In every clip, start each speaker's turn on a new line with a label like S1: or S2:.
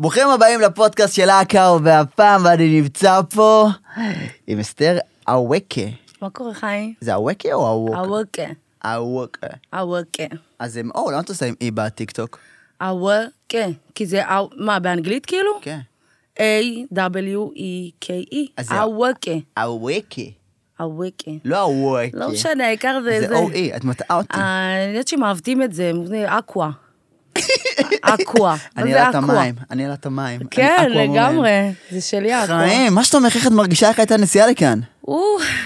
S1: ברוכים הבאים לפודקאסט של אקאו, והפעם אני נמצא פה עם אסתר אווקה.
S2: מה קורה חי?
S1: זה אווקה או אווקה?
S2: אווקה.
S1: אווקה.
S2: אווקה.
S1: אז הם, או, למה אתה עושה עם אי בטיקטוק?
S2: אווקה. כי זה, או- מה, באנגלית כאילו? E
S1: כן. אז
S2: A-W-E-K-E.
S1: זה-
S2: אווקה.
S1: אווקה.
S2: אווקה.
S1: לא אווקה.
S2: לא משנה, העיקר זה...
S1: זה E או-אי, את מטעה אותי.
S2: אה, אני יודעת שמעוותים את זה, זה אקווה. אקווה. מה
S1: אני
S2: זה
S1: על
S2: אקווה?
S1: המים, אני על המים.
S2: כן,
S1: אני אקוואמומן.
S2: לגמרי. זה שלי אקווה.
S1: חיים, מה שלומך? איך את מרגישה איך הייתה נסיעה לכאן?
S2: או,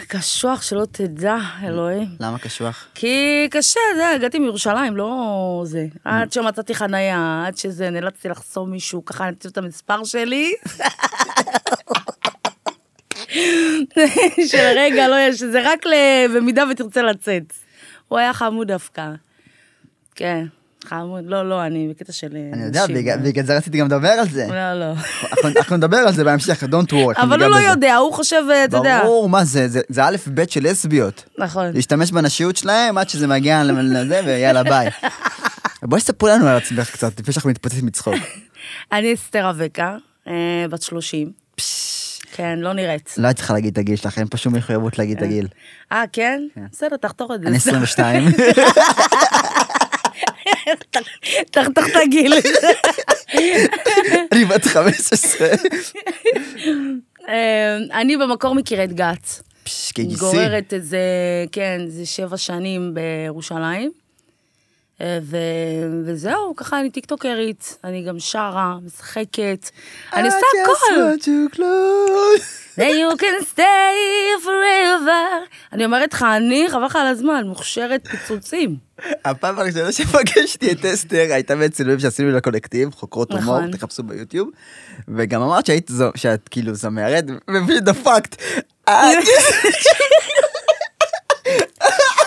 S2: קשוח שלא תדע, אלוהים.
S1: למה קשוח?
S2: כי קשה, זה, הגעתי מירושלים, לא זה.
S1: Mm.
S2: עד שמצאתי חנייה, עד שזה, נאלצתי לחסום מישהו, ככה נתתי לו את המספר שלי. שלרגע לא יש, שזה רק ל- במידה ותרצה לצאת. הוא היה חמוד דווקא. כן, חמוד, לא, לא, אני בקטע של
S1: אני יודע,
S2: נשים.
S1: בגלל- בגלל זה רציתי גם לדבר על זה.
S2: לא, לא.
S1: אנחנו- אנחנו נדבר על זה בהמשך, don't worry. אנחנו
S2: אבל
S1: ניגע
S2: הוא לא
S1: בזה.
S2: יודע, הוא חושב, אה, אתה יודע.
S1: ברור, מה זה, זה- זה א' ב' של לסביות.
S2: נכון.
S1: להשתמש בנשיות שלהם עד שזה מגיע לזה, ויאללה ביי. בואי ספרו לנו על עצמך קצת, לפני שאנחנו מתפוצצים מצחוק.
S2: אני אסתר אבקה, אה, בת 30. כן, לא נראית.
S1: לא הייתי צריכה להגיד את הגיל שלך, אין פה שום מחויבות להגיד את הגיל.
S2: אה, כן? בסדר, תחתוך את זה.
S1: אני 22.
S2: תחתוך את הגיל.
S1: אני בת 15.
S2: אה, אני במקור מקריית גת.
S1: פש, כגיסי.
S2: גוררת איזה, כן, איזה שבע שנים בירושלים. אה, ו... וזהו, ככה אני טיקטוקרית, אני גם שרה, משחקת, אני עושה
S1: I just
S2: הכל.
S1: want you close.
S2: Then you can stay forever. אני אומרת לך, אני, חבל לך על הזמן, מוכשרת פיצוצים.
S1: הפעם הראשונה שפגשתי את אסתר הייתה בצילומים שעשינו לקולקטיב, חוקרות הומור,
S2: נכון.
S1: תחפשו ביוטיוב, וגם אמרת שהיית זו- שאת כאילו זמרת, ופשוט דפקת. את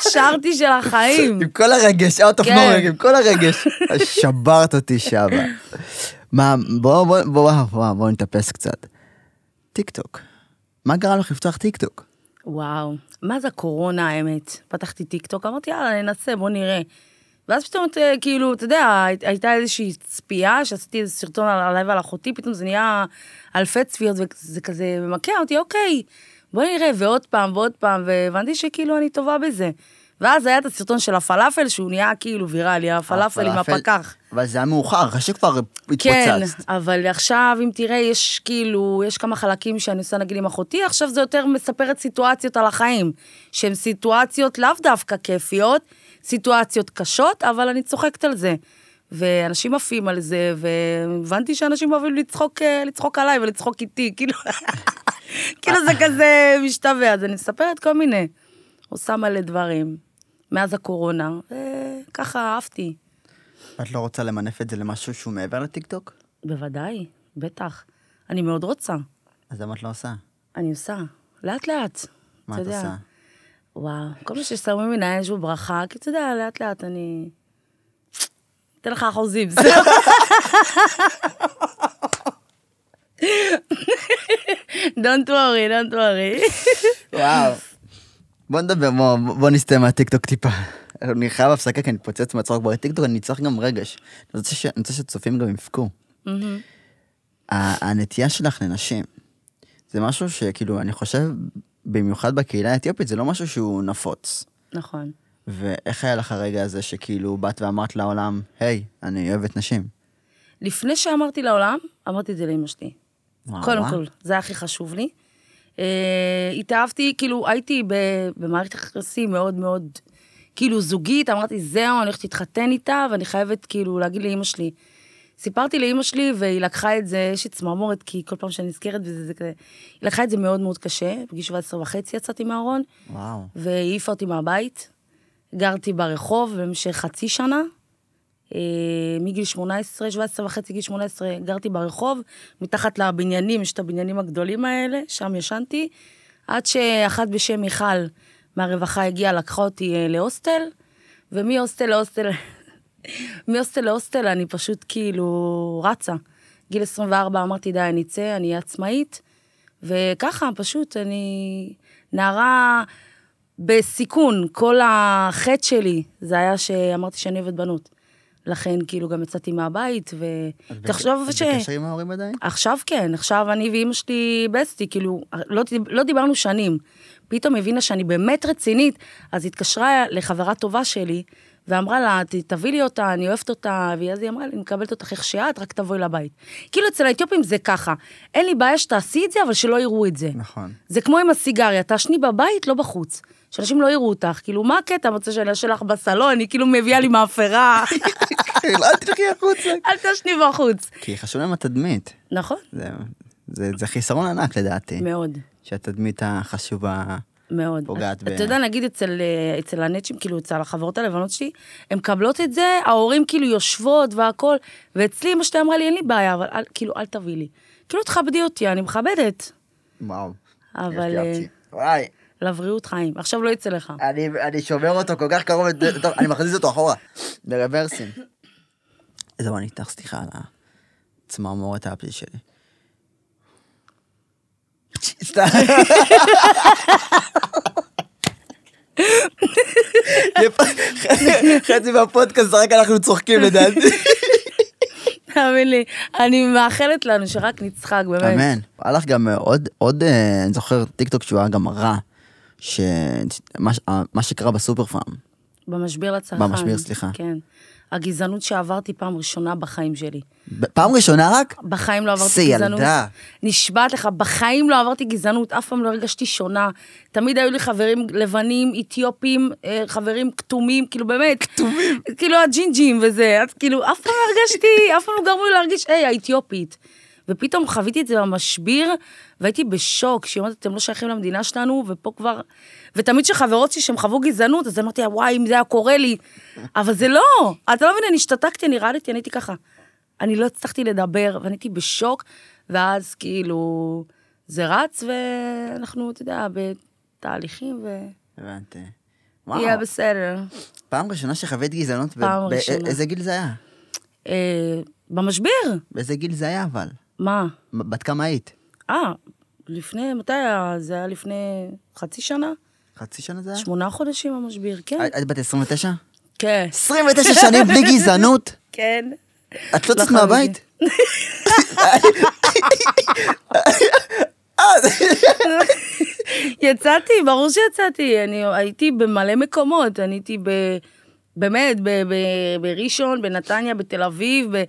S2: שרתי של החיים.
S1: עם כל הרגש, out of
S2: כן.
S1: knowing, עם כל הרגש. שברת אותי שם. מה, בוא, בוא, בוא, בוא, בוא נתאפס קצת. טיק טוק. מה גרם לך לפתוח טיק טוק?
S2: וואו, מה זה הקורונה האמת? פתחתי טיקטוק, אמרתי יאללה ננסה, בוא נראה. ואז פתאום, את, אה, כאילו, אתה יודע, הי- הייתה איזושהי צפייה, שעשיתי איזה סרטון על- עליי ועל אחותי, פתאום זה נהיה אלפי צפיות, וזה כזה ממקע אותי, אוקיי, בוא נראה, ועוד פעם, ועוד פעם, והבנתי שכאילו אני טובה בזה. ואז היה את הסרטון של הפלאפל, שהוא נהיה כאילו ויראלי, הפלאפל עם הפקח.
S1: אבל זה היה מאוחר, אחרי שכבר
S2: כן,
S1: התפוצצת.
S2: אבל עכשיו, אם תראה, יש כאילו, יש כמה חלקים שאני עושה נגיד עם אחותי, עכשיו זה יותר מספרת סיטואציות על החיים, שהן סיטואציות לאו דווקא כיפיות, סיטואציות קשות, אבל אני צוחקת על זה. ואנשים עפים על זה, והבנתי שאנשים אוהבים לצחוק, אה, לצחוק עליי ולצחוק איתי, כאילו, כאילו זה כזה משתווה, אז אני מספרת כל מיני. עושה מלא דברים, מאז הקורונה, וככה אהבתי.
S1: את לא רוצה למנף את זה למשהו שהוא מעבר לטיק טוק?
S2: בוודאי, בטח. אני מאוד רוצה.
S1: אז למה את לא עושה?
S2: אני עושה, לאט לאט.
S1: מה
S2: אתה
S1: את
S2: יודע.
S1: עושה?
S2: וואו, כל מה ששמים מן האש הוא ברכה, כי אתה יודע, לאט לאט אני... אתן לך אחוזים. בסדר? Don't worry, don't worry.
S1: וואו. בוא נדבר, בוא, בוא נסטה מהטיקטוק טיפה. אני חייב הפסקה כי אני מתפוצץ מהצחוק כבר טיקטוק, אני צריך גם רגש. אני רוצה, ש... אני רוצה שצופים גם יבכו. ה- הנטייה שלך לנשים, זה משהו שכאילו, אני חושב, במיוחד בקהילה האתיופית, זה לא משהו שהוא נפוץ.
S2: נכון.
S1: ואיך היה לך הרגע הזה שכאילו באת ואמרת לעולם, היי, אני אוהבת נשים?
S2: לפני שאמרתי לעולם, אמרתי את זה לאמא שלי.
S1: וואו,
S2: קודם
S1: וואו.
S2: כל, זה היה הכי חשוב לי. אה, התאהבתי, כאילו, הייתי ב- במערכת יחסים מאוד מאוד, כאילו, זוגית, אמרתי, זהו, אני הולכת להתחתן איתה, ואני חייבת, כאילו, להגיד לאימא שלי. סיפרתי לאימא שלי, והיא לקחה את זה, יש לי צמרמורת, כי כל פעם שאני נזכרת בזה, זה כזה... היא לקחה את זה מאוד מאוד קשה, בגיל 17 וחצי יצאתי מהארון,
S1: וואו.
S2: והיא העיפה אותי מהבית. גרתי ברחוב במשך חצי שנה. אה, מגיל 18, 17 וחצי, גיל 18, גרתי ברחוב, מתחת לבניינים, יש את הבניינים הגדולים האלה, שם ישנתי, עד שאחת בשם מיכל מהרווחה הגיעה, לקחה אותי אה, להוסטל, ומהוסטל להוסטל, מהוסטל להוסטל אני פשוט כאילו רצה. גיל 24 אמרתי, די, אני אצא, אני אהיה עצמאית, וככה, פשוט, אני נערה בסיכון. כל החטא שלי, זה היה שאמרתי שאני אוהבת בנות. לכן כאילו גם יצאתי מהבית,
S1: את בק-
S2: ותחשוב
S1: את
S2: ש...
S1: בקשר עם ההורים עדיין?
S2: עכשיו כן, עכשיו אני ואימא שלי בסטי, כאילו, לא, לא דיברנו שנים. פתאום הבינה שאני באמת רצינית, אז התקשרה לחברה טובה שלי, ואמרה לה, "ת- תביא לי אותה, אני אוהבת אותה, ואז היא אמרה לי, אני מקבלת אותך איך שאת, רק תבואי לבית. כאילו, אצל האתיופים זה ככה, אין לי בעיה שתעשי את זה, אבל שלא יראו את זה.
S1: נכון.
S2: זה כמו עם הסיגריה, תעשני בבית, לא בחוץ. שאנשים לא יראו אותך, כאילו, מה הקטע, רוצה שאני אשאל לך בסלון, היא כאילו מביאה לי מאפרה,
S1: לא תלכי החוצה.
S2: אל תעשני בחוץ.
S1: כי חשוב להם התדמית.
S2: נכון?
S1: זה- זה זה חיסרון ענק לדעתי.
S2: מאוד.
S1: שהתדמית החשובה...
S2: מאוד.
S1: פוגעת
S2: אתה
S1: ב-
S2: אתה יודע, נגיד אצל, אה, אצל הנצ'ים, כאילו אצל החברות הלבנות שלי, הן מקבלות את זה, ההורים כאילו יושבות והכל, ואצלי אמא שלי אמרה לי, אין לי בעיה, אבל אל, כאילו, אל תביאי לי. כאילו, תכבדי אותי, אני מכבדת.
S1: וואו.
S2: אבל,
S1: יש לי
S2: אה,
S1: אפצ'י. וואי,
S2: לבריאות חיים. עכשיו לא יצא לך.
S1: אני, אני שומר אותו כל כך קרוב, לד- טוב, אני מכניס אותו אחורה, ברוורסים. זהו, אני איתך, סליחה על הצמרמורת האפי שלי. סתם. חצי מהפודקאסט רק אנחנו צוחקים לדעתי.
S2: תאמין לי, אני מאחלת לנו שרק נצחק, באמת.
S1: אמן. היה לך גם עוד, עוד, אה, אני זוכר טיקטוק שהוא היה גם רע, שמה ש- אה, מה שקרה בסופר פארם.
S2: במשביר לצרכן.
S1: במשביר, סליחה.
S2: כן. הגזענות שעברתי פעם ראשונה בחיים שלי.
S1: פעם ראשונה רק?
S2: בחיים לא עברתי
S1: זה
S2: גזענות.
S1: ילדה.
S2: נשבעת לך, בחיים לא עברתי גזענות, אף פעם לא הרגשתי שונה. תמיד היו לי חברים לבנים, אתיופים, אה, חברים כתומים, כאילו באמת. כתומים. כאילו הג'ינג'ים וזה, אז כאילו אף פעם לא הרגשתי, אף פעם לא גרמו לי להרגיש, היי, האתיופית. ופתאום חוויתי את זה במשביר, והייתי בשוק, שהיא אומרת, אתם לא שייכים למדינה שלנו, ופה כבר... ותמיד כשחברות שלי שהם חוו גזענות, אז אמרתי, וואי, אם זה היה קורה לי. אבל זה לא, אתה לא מבין, אני השתתקתי, אני רעדתי, אני הייתי ככה. אני לא הצלחתי לדבר, ואני הייתי בשוק, ואז כאילו, זה רץ, ואנחנו, אתה יודע, בתהליכים, ו...
S1: הבנתי. וואו,
S2: יהיה בסדר.
S1: פעם ראשונה שחווית גזענות, ב-
S2: פעם
S1: ב-
S2: ראשונה.
S1: באיזה גיל זה היה?
S2: אה, במשביר?
S1: באיזה גיל זה היה אבל?
S2: מה?
S1: מ- בת כמה היית?
S2: אה, לפני, מתי היה? זה היה לפני חצי שנה?
S1: חצי שנה זה היה?
S2: שמונה חודשים המשביר, כן.
S1: היית- היית בת 29?
S2: כן.
S1: 29 שנים בלי גזענות?
S2: כן.
S1: את לא יוצאת
S2: לחלוטין.
S1: מהבית?
S2: יצאתי, ברור שיצאתי, אני הייתי במלא מקומות, אני הייתי ב... באמת, ב- ב- בראשון, בנתניה, בתל אביב, ב...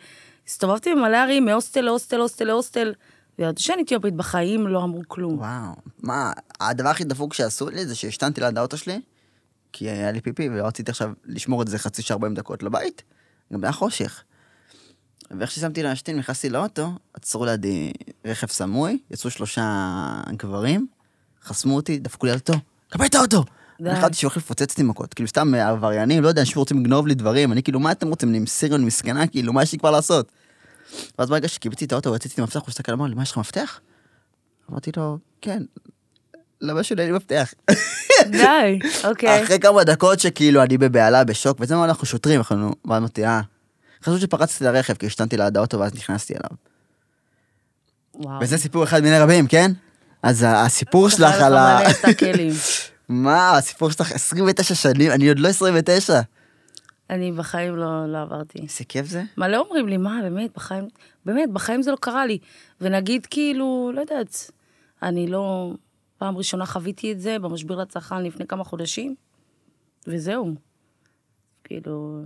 S2: הסתובבתי במלא ערים, מהוסטל להוסטל להוסטל להוסטל, וידעתי שאני אתיופית, בחיים לא אמרו כלום.
S1: וואו, מה, הדבר הכי דפוק שעשו לי זה שהשתנתי ליד האוטו שלי, כי היה לי פיפי, ורציתי עכשיו לשמור את זה חצי שעה 40 דקות לבית, גם היה חושך. ואיך ששמתי להשתין, נכנסתי לאוטו, עצרו לידי רכב סמוי, יצאו שלושה גברים, חסמו אותי, דפקו לי על אותו, קבל את האוטו!
S2: די.
S1: אני חשבתי שהוא הולך לפוצץ אותי מכות, כאילו סתם אה, עבריינים, לא יודע, אנשים רוצים לגנוב לי דברים, אני כאילו, מה אתם רוצים, אני עם סיריון מסכנה, כאילו, מה יש לי כבר לעשות? ואז ברגע שקיבלתי את האוטו והוצאתי את המפתח, הוא הסתכל, אמר לי, מה, יש לך מפתח? אמרתי לו, כן. למה שונה לי מפתח?
S2: די, אוקיי.
S1: אחרי כמה דקות שכאילו אני בבהלה, בשוק, וזה מה אנחנו שוטרים, אנחנו, ואז אמרתי, אה. חשבו שפרצתי לרכב, כי השתנתי ליד האוטו ואז נכנסתי אליו.
S2: וואו.
S1: וזה סיפור אחד מיני רבים, כן? אז ה- הסיפור
S2: צריך היה
S1: שלך על ה...
S2: לך מלא את הכלים.
S1: מה, הסיפור שלך 29 שנים, אני עוד לא 29.
S2: אני בחיים לא, לא עברתי.
S1: איזה כיף זה.
S2: מלא אומרים לי, מה, באמת, בחיים, באמת, בחיים זה לא קרה לי. ונגיד, כאילו, לא יודעת, אני לא... פעם ראשונה חוויתי את זה במשביר לצרכן לפני כמה חודשים, וזהו. כאילו...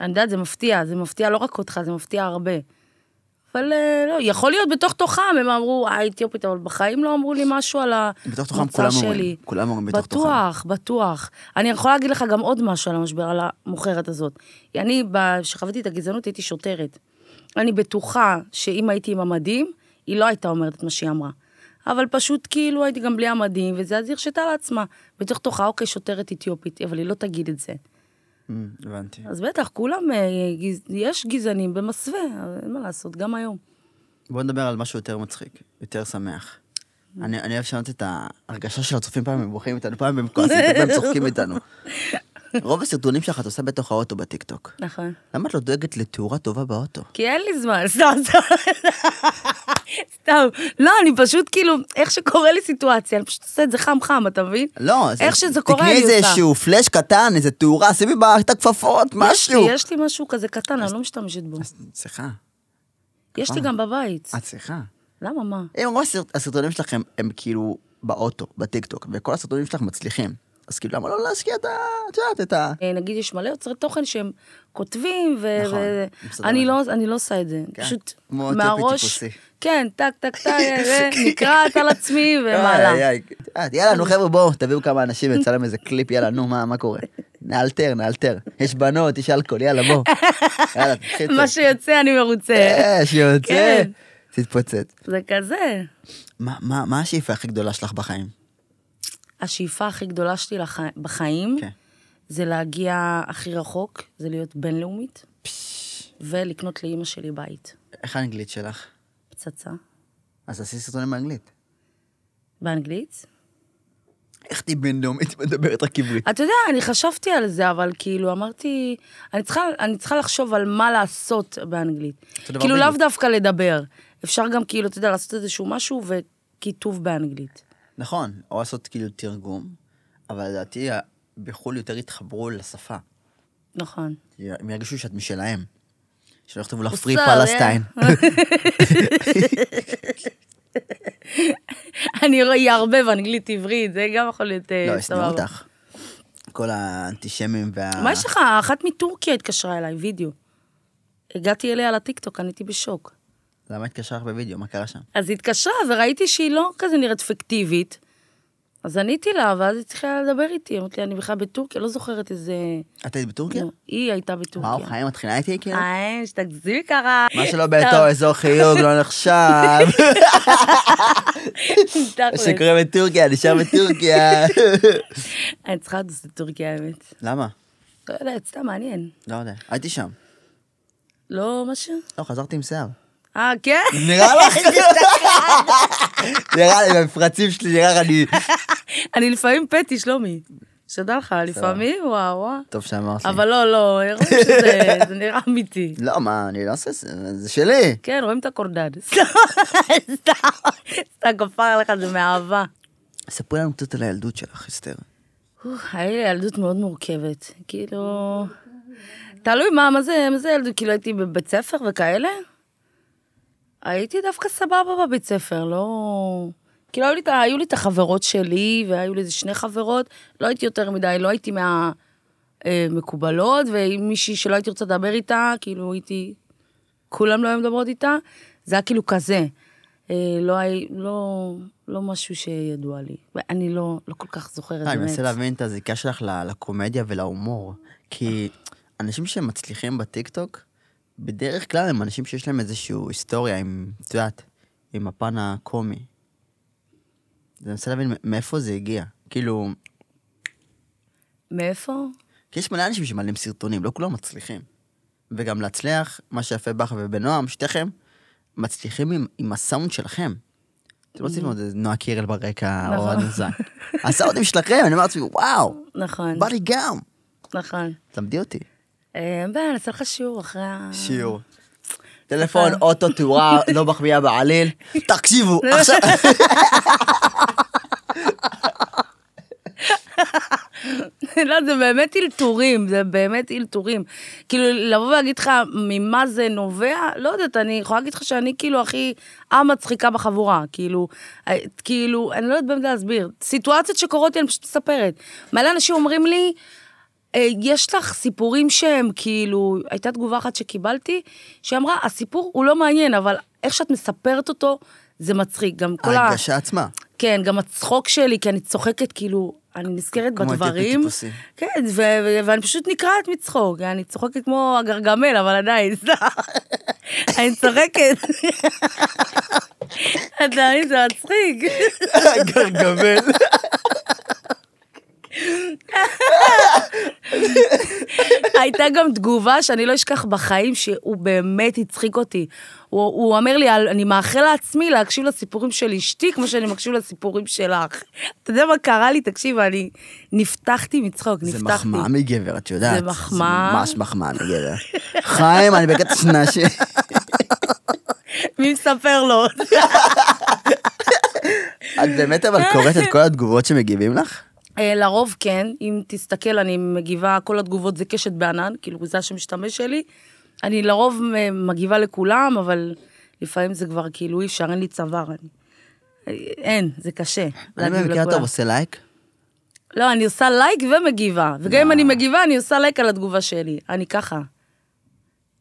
S2: אני יודעת, זה מפתיע, זה מפתיע לא רק אותך, זה מפתיע הרבה. אבל אה, לא, יכול להיות בתוך תוכם, הם אמרו, אה, אתיופית, אבל בחיים לא אמרו לי משהו על
S1: בתוך תוכם
S2: המוצא
S1: כולם
S2: שלי.
S1: אומרים. כולם אומרים בתוך תוכם.
S2: בטוח, בטוח. אני יכולה להגיד לך גם עוד משהו על המשבר, על המוכרת הזאת. אני, ב- כשחוויתי את הגזענות, הייתי שוטרת. אני בטוחה שאם הייתי עם המדים, היא לא הייתה אומרת את מה שהיא אמרה. אבל פשוט כאילו הייתי גם בלי המדים, וזה אז היא הרשתה לעצמה. בתוך תוכה, אוקיי, שוטרת אתיופית, אבל היא לא תגיד את זה.
S1: אמ, הבנתי.
S2: אז בטח, כולם, אה, גז... יש גזענים במסווה, אבל אין מה לעשות, גם היום.
S1: בוא נדבר על משהו יותר מצחיק, יותר שמח. אני, אני אוהב לשנות את ההרגשה של הצופים, פעם הם בוכים איתנו, פעם הם כועסים, פעם הם צוחקים איתנו. רוב הסרטונים שלך את עושה בתוך האוטו בטיקטוק.
S2: נכון.
S1: למה את לא דואגת לתאורה טובה באוטו?
S2: כי אין לי זמן, סתם, סתם. סתם. לא, אני פשוט כאילו, איך שקורה לי סיטואציה, אני פשוט עושה את זה חם-חם, אתה מבין?
S1: לא,
S2: איך
S1: זה-
S2: שזה קורה, אני
S1: תקני איזה
S2: עושה.
S1: איזשהו פלאש קטן, איזה תאורה, שימי בה את הכפפות,
S2: יש לי,
S1: משהו.
S2: יש לי משהו כזה קטן, אני לא משתמשת בו.
S1: סליחה,
S2: יש לי
S1: נכון.
S2: גם בבית.
S1: את סליחה.
S2: למה, מה?
S1: הם אמרו, "הסרט- הסרטונים שלכם הם כאילו באוטו, בטיקטוק, וכל הסרטונים שלך מצליחים. אז כאילו, למה לא להשקיע את ה... את יודעת, את ה...
S2: אה, נגיד יש מלא יוצרי תוכן שהם כותבים, ו...
S1: נכון,
S2: ו-
S1: בסדר.
S2: אני לא, אני לא עושה את זה,
S1: כן,
S2: פשוט
S1: כמו טיפי
S2: מהראש,
S1: טיפוסי. כן.
S2: כן, טק, טק, טק, אה, נקרעת על
S1: אה,
S2: עצמי
S1: איי,
S2: ומעלה.
S1: איי, את יודעת, יאללה, נו חבר'ה, בואו, תביאו כמה אנשים, נצלם איזה קליפ, יאללה, נו, מה, מה קורה? נאלתר, נאלתר. יש בנות, יש אלכוהול, יאללה, בואו. יאללה, תתחיל.
S2: מה שיוצא אני מרוצה.
S1: יש, יוצא.
S2: כן.
S1: תתפוצץ.
S2: זה כזה.
S1: מה- מה מה השאיפה הכי גדולה שלך בחיים?
S2: השאיפה הכי גדולה שלי לח... בחיים,
S1: כן.
S2: זה להגיע הכי רחוק, זה להיות בינלאומית, ולקנות לאימא שלי בית.
S1: איך האנגלית שלך?
S2: פצצה.
S1: אז עשי סרטונים באנגלית.
S2: באנגלית?
S1: איך תהיי בינלאומית מדברת רק עברית?
S2: אתה יודע, אני חשבתי על זה, אבל כאילו, אמרתי, אני צריכה, אני צריכה לחשוב על מה לעשות באנגלית.
S1: דבר
S2: כאילו, לאו
S1: באנגלית.
S2: דווקא לדבר. אפשר גם, כאילו, אתה יודע, לעשות איזשהו משהו וכיתוב באנגלית.
S1: נכון, או לעשות כאילו תרגום, אבל לדעתי ה- בחו"ל יותר יתחברו לשפה.
S2: נכון.
S1: כי הם ירגישו שאת משלהם. שלא יכתבו לך
S2: הוא
S1: פרי
S2: שר,
S1: פלסטיין.
S2: אוקיי, אני רואה אערבב אנגלית עברית, זה גם יכול להיות אה,
S1: לא,
S2: סבבה.
S1: ישנאו אותך. כל האנטישמים וה...
S2: מה יש לך? אחת מטורקיה התקשרה אליי, וידאו. הגעתי אליה לטיקטוק, אני הייתי בשוק.
S1: למה התקשר לך בווידאו? מה קרה שם?
S2: אז היא התקשרה, וראיתי שהיא לא כזה נראית פיקטיבית. אז עניתי לה, ואז היא צריכה לדבר איתי. אמרתי לה, אני בכלל בטורקיה, לא זוכרת איזה...
S1: את היית בטורקיה?
S2: נו, היא הייתה לא, בטורקיה.
S1: וואו, חיים מתחילה איתי כאילו?
S2: אה, שתגזימי ככה.
S1: מה שלא באותו אזור חיוג לא נחשב.
S2: סתם,
S1: מה שקורה בטורקיה, נשאר בטורקיה.
S2: אני צריכה לטוס לטורקיה, האמת.
S1: למה?
S2: לא יודעת, סתם מעניין.
S1: לא יודע. הייתי שם.
S2: לא משהו?
S1: לא, חזרתי עם שיער.
S2: אה, כן?
S1: נראה לך? נראה לי, במפרצים שלי נראה לי...
S2: אני לפעמים פטי, שלומי. שתדע לך, לפעמים, וואו, וואו.
S1: טוב שאמרת לי.
S2: אבל לא, לא, רואים שזה זה נראה אמיתי.
S1: לא, מה, אני לא עושה... את זה, זה שלי.
S2: כן, רואים את הקורדד. סתם, סתם, סתם כפר עליך, זה מאהבה.
S1: ספרי לנו קצת על הילדות שלך, אסתר.
S2: אוף, היה לי ילדות מאוד מורכבת, כאילו... תלוי מה, מה זה, מה זה ילדות? כאילו הייתי בבית ספר וכאלה? הייתי דווקא סבבה בבית ספר, לא... כאילו היו לי, את ה- היו לי את החברות שלי, והיו לי איזה שני חברות, לא הייתי יותר מדי, לא הייתי מהמקובלות, ועם מישהי שלא הייתי רוצה לדבר איתה, כאילו הייתי... כולם לא היו מדברות איתה, זה היה כאילו כזה. אה, לא, הי- לא, לא משהו שידוע לי, ואני לא, לא כל כך זוכרת,
S1: אה, אני
S2: באמת.
S1: מנסה להבין את הזיקה שלך ל- לקומדיה ולהומור. כי אנשים שמצליחים בטיקטוק, בדרך כלל הם אנשים שיש להם איזושהי היסטוריה עם, את יודעת, עם הפן הקומי. אז אני מנסה להבין מאיפה זה הגיע. כאילו,
S2: מאיפה?
S1: כי יש מלא אנשים שמעלים סרטונים, לא כולם מצליחים. וגם להצליח, מה שיפה בך ובנועם, שתיכם, מצליחים עם, עם הסאונד שלכם. אתם לא צריכים עוד איזה נועה קירל ברקע או
S2: Mm. נכון.
S1: עוד איזה. הסאונדים שלכם, אני אומר לעצמי, וואו,
S2: נכון,
S1: בא לי גם.
S2: נכון.
S1: תלמדי אותי.
S2: אה, אין בעיה, נעשה לך שיעור אחרי ה...
S1: שיעור. טלפון, אוטו, תאורה, לא מחמיאה בעליל. תקשיבו, עכשיו...
S2: לא, זה באמת אלתורים, זה באמת אלתורים. כאילו, לבוא ולהגיד לך ממה זה נובע, לא יודעת, אני יכולה להגיד לך שאני כאילו הכי המצחיקה בחבורה. כאילו, אה, כאילו, אני לא יודעת באמת להסביר. סיטואציות שקורות לי, אני פשוט מספרת. מלא אנשים אומרים לי, אה, יש לך סיפורים שהם כאילו, הייתה תגובה אחת שקיבלתי, שאמרה, הסיפור הוא לא מעניין, אבל איך שאת מספרת אותו, זה מצחיק. גם כל ה...
S1: ההרגשה עצמה.
S2: כן, גם הצחוק שלי, כי אני צוחקת, כאילו, אני נזכרת
S1: כמו הטיפי
S2: בדברים.
S1: טיפוסי.
S2: כן, ו- ו- ואני פשוט נקרעת מצחוק, אני צוחקת כמו הגרגמל, אבל עדיין, סתם. אני צוחקת. עדיין זה מצחיק.
S1: גרגמל.
S2: הייתה גם תגובה שאני לא אשכח בחיים, שהוא באמת הצחיק אותי. הוא, הוא אומר לי, "על- אני מאחל לעצמי להקשיב לסיפורים של אשתי כמו שאני מקשיב לסיפורים שלך. אתה יודע מה קרה לי? תקשיב, אני נפתחתי מצחוק,
S1: זה
S2: נפתחתי.
S1: מחמאה מגבר, את יודעת.
S2: זה מחמאה.
S1: זה ממש מחמאה מגבר. חיים, אני בקטע שנשי.
S2: מי תספר לו.
S1: את באמת אבל קוראת את כל התגובות שמגיבים לך?
S2: אה, לרוב כן, אם תסתכל, אני מגיבה, כל התגובות זה קשת בענן, כאילו זה השם משתמש שלי. אני לרוב אה, מגיבה לכולם, אבל לפעמים זה כבר כאילו אי אפשר, אין לי צוואר. אני... אה, אין, זה קשה.
S1: אני
S2: להגיב
S1: במקרה
S2: לכולם.
S1: טוב עושה לייק.
S2: לא, אני עושה לייק ומגיבה. וגם אם אני מגיבה, אני עושה לייק על התגובה שלי. אני ככה.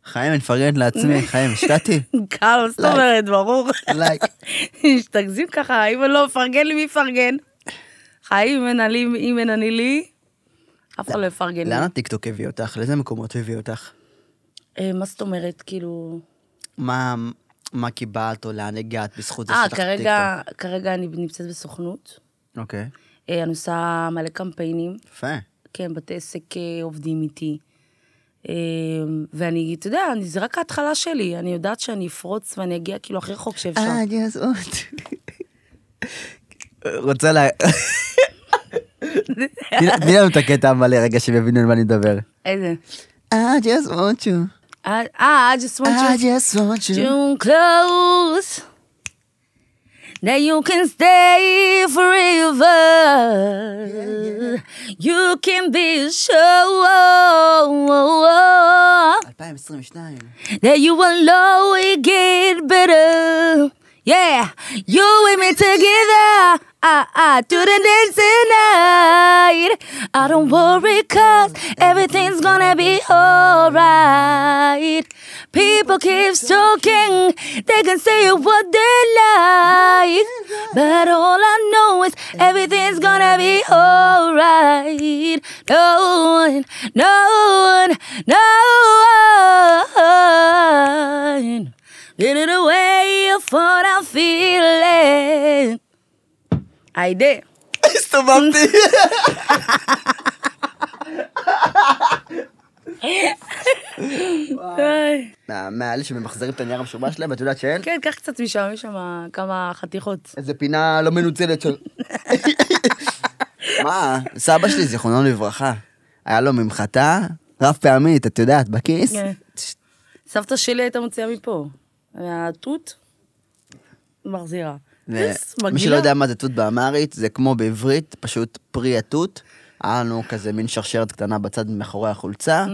S1: חיים, אני מפרגנת לעצמי, חיים, השתתי.
S2: קל, זאת
S1: לייק.
S2: אומרת, ברור.
S1: לייק.
S2: תגזים ככה, אם אני לא מפרגן לי, מי יפרגן? חיים, אם אין אני- אם אין אני לי, אף אחד לא יפרגן לי.
S1: לאן הטיקטוק הביא אותך? לאיזה מקומות הביא אותך?
S2: אה, מה זאת אומרת, כאילו...
S1: מה, מה קיבלת או לאן הגעת בזכות זה
S2: אה,
S1: שפתחת
S2: כרגע, כרגע אני נמצאת בסוכנות.
S1: טיקטוק? אוקיי,
S2: אה, אני עושה מלא קמפיינים.
S1: יפה.
S2: כן, בתי עסק אה, עובדים איתי. אה, ואני, אתה יודע, אני- זה רק ההתחלה שלי. אני יודעת שאני אפרוץ ואני אגיע כאילו הכי רחוק שאפשר.
S1: אה, אני אז עוד. רוצה ל... תני- תני לנו את הקטע המלא רגע שהם יבינו על מה אני מדבר.
S2: איזה?
S1: I just want you.
S2: אה, אה, I just want
S1: I
S2: you
S1: just want you.
S2: to close. That you can stay forever. You can be sure.
S1: 2022.
S2: that you will always get better. Yeah, you and me together. Ah, ah, to the next night. I don't worry, cause everything's gonna be alright. People keep talking, they can say what they like. But all I know is everything's gonna be alright. No one, no one, no one. Did it away for I'm feeling. I did.
S1: הסתובבתי. מהאלה שממחזרים את הנייר המשובח שלהם, ואת יודעת שאין?
S2: כן, קח קצת משם, יש שם כמה חתיכות.
S1: איזה פינה לא מנוצלת של... מה, סבא שלי, זיכרונו לברכה, היה לו ממחטה רב פעמית, את יודעת, בכיס.
S2: כן. סבתא שלי הייתה מוציאה מפה. התות, מחזירה.
S1: ו-
S2: איס,
S1: מי
S2: מגעילה.
S1: שלא יודע מה זה תות באמרית, זה כמו בעברית, פשוט פרי התות. היה לנו כזה מין שרשרת קטנה בצד מאחורי החולצה,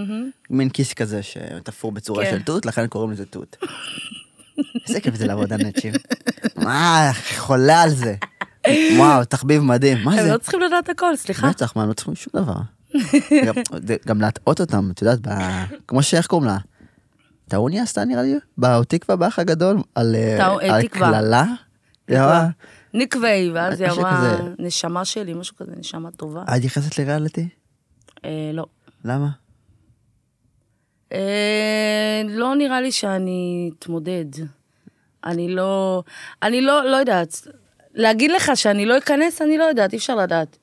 S1: מין כיס כזה שתפור בצורה
S2: כן.
S1: של תות, לכן קוראים לזה תות. איזה כיף זה לעבוד על נצ'ים. מה, חולה על זה. וואו, תחביב מדהים, מה
S2: הם
S1: זה?
S2: לא צריכים לדעת הכל, סליחה.
S1: בטח, מה, הם לא צריכים שום דבר. גם- זה- גם להטעות אותם, את יודעת, ב- כמו שאיך קוראים לה? טעוני עשתה נראה לי, בתקווה באח הגדול, על אה,
S2: טעו- אה,
S1: על
S2: תקווה.
S1: קללה.
S2: נקווה.
S1: יאללה.
S2: נקווי, ואז היא
S1: משהו
S2: אמרה,
S1: כזה.
S2: נשמה שלי, משהו כזה, נשמה טובה.
S1: את נכנסת לריאליטי?
S2: אה, לא.
S1: למה?
S2: אה, לא נראה לי שאני אתמודד. אני לא, אני לא, לא יודעת. להגיד לך שאני לא אכנס, אני לא יודעת, אי אפשר לדעת.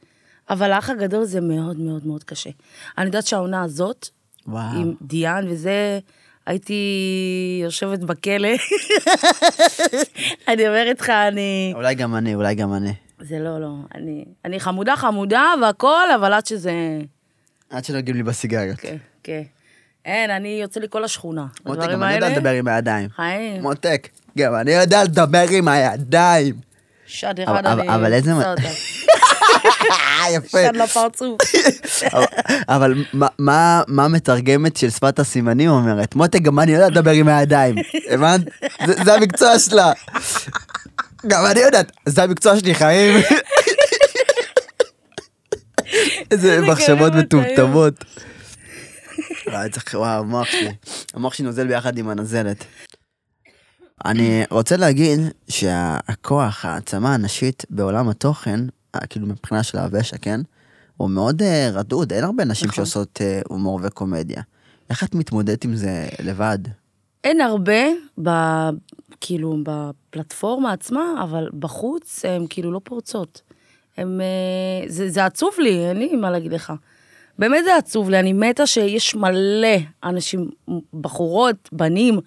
S2: אבל האח הגדול זה מאוד מאוד מאוד קשה. אני יודעת שהעונה הזאת,
S1: וואו.
S2: עם דיאן וזה, הייתי יושבת בכלא. אני אומרת לך, אני...
S1: אולי גם אני, אולי גם אני.
S2: זה לא, לא, אני, אני חמודה חמודה והכל, אבל עד שזה...
S1: עד שנוגעים לי בסיגריות.
S2: כן, כן. אין, אני יוצא לי כל השכונה.
S1: מותק,
S2: הדברים
S1: גם אני יודע
S2: האלה- אה.
S1: לדבר עם הידיים.
S2: חיים,
S1: מותק, גם אני יודע לדבר עם הידיים.
S2: שד
S1: אבל-
S2: אחד
S1: אבל-
S2: אני...
S1: אבל איזה-
S2: עושה אותה.
S1: אה, יפה.
S2: שד לא לפרצוף.
S1: אבל- אבל מה- מה- מה המתרגמת של שפת הסימנים אומרת? מותק, גם אני יודע לדבר עם הידיים. הבנת? זה- זה המקצוע שלה. גם אני יודעת, זה המקצוע שלי, חיים. איזה
S2: גלים
S1: מחשבות
S2: מטעים.
S1: מטומטמות. וואי, צריך, וואו, המוח שלי. המוח שלי נוזל ביחד עם הנזלת. אני רוצה להגיד שהכוח, העצמה הנשית בעולם התוכן, אה, כאילו מבחינה של הוושע, כן? הוא מאוד אה, רדוד, אין הרבה נשים
S2: נכון.
S1: שעושות אה, הומור וקומדיה. איך את מתמודדת עם זה לבד?
S2: אין הרבה, ב, כאילו, בפלטפורמה עצמה, אבל בחוץ הן כאילו לא פורצות. הם, אה, זה, זה עצוב לי, אין לי מה להגיד לך. באמת זה עצוב לי, אני מתה שיש מלא אנשים, בחורות, בנים,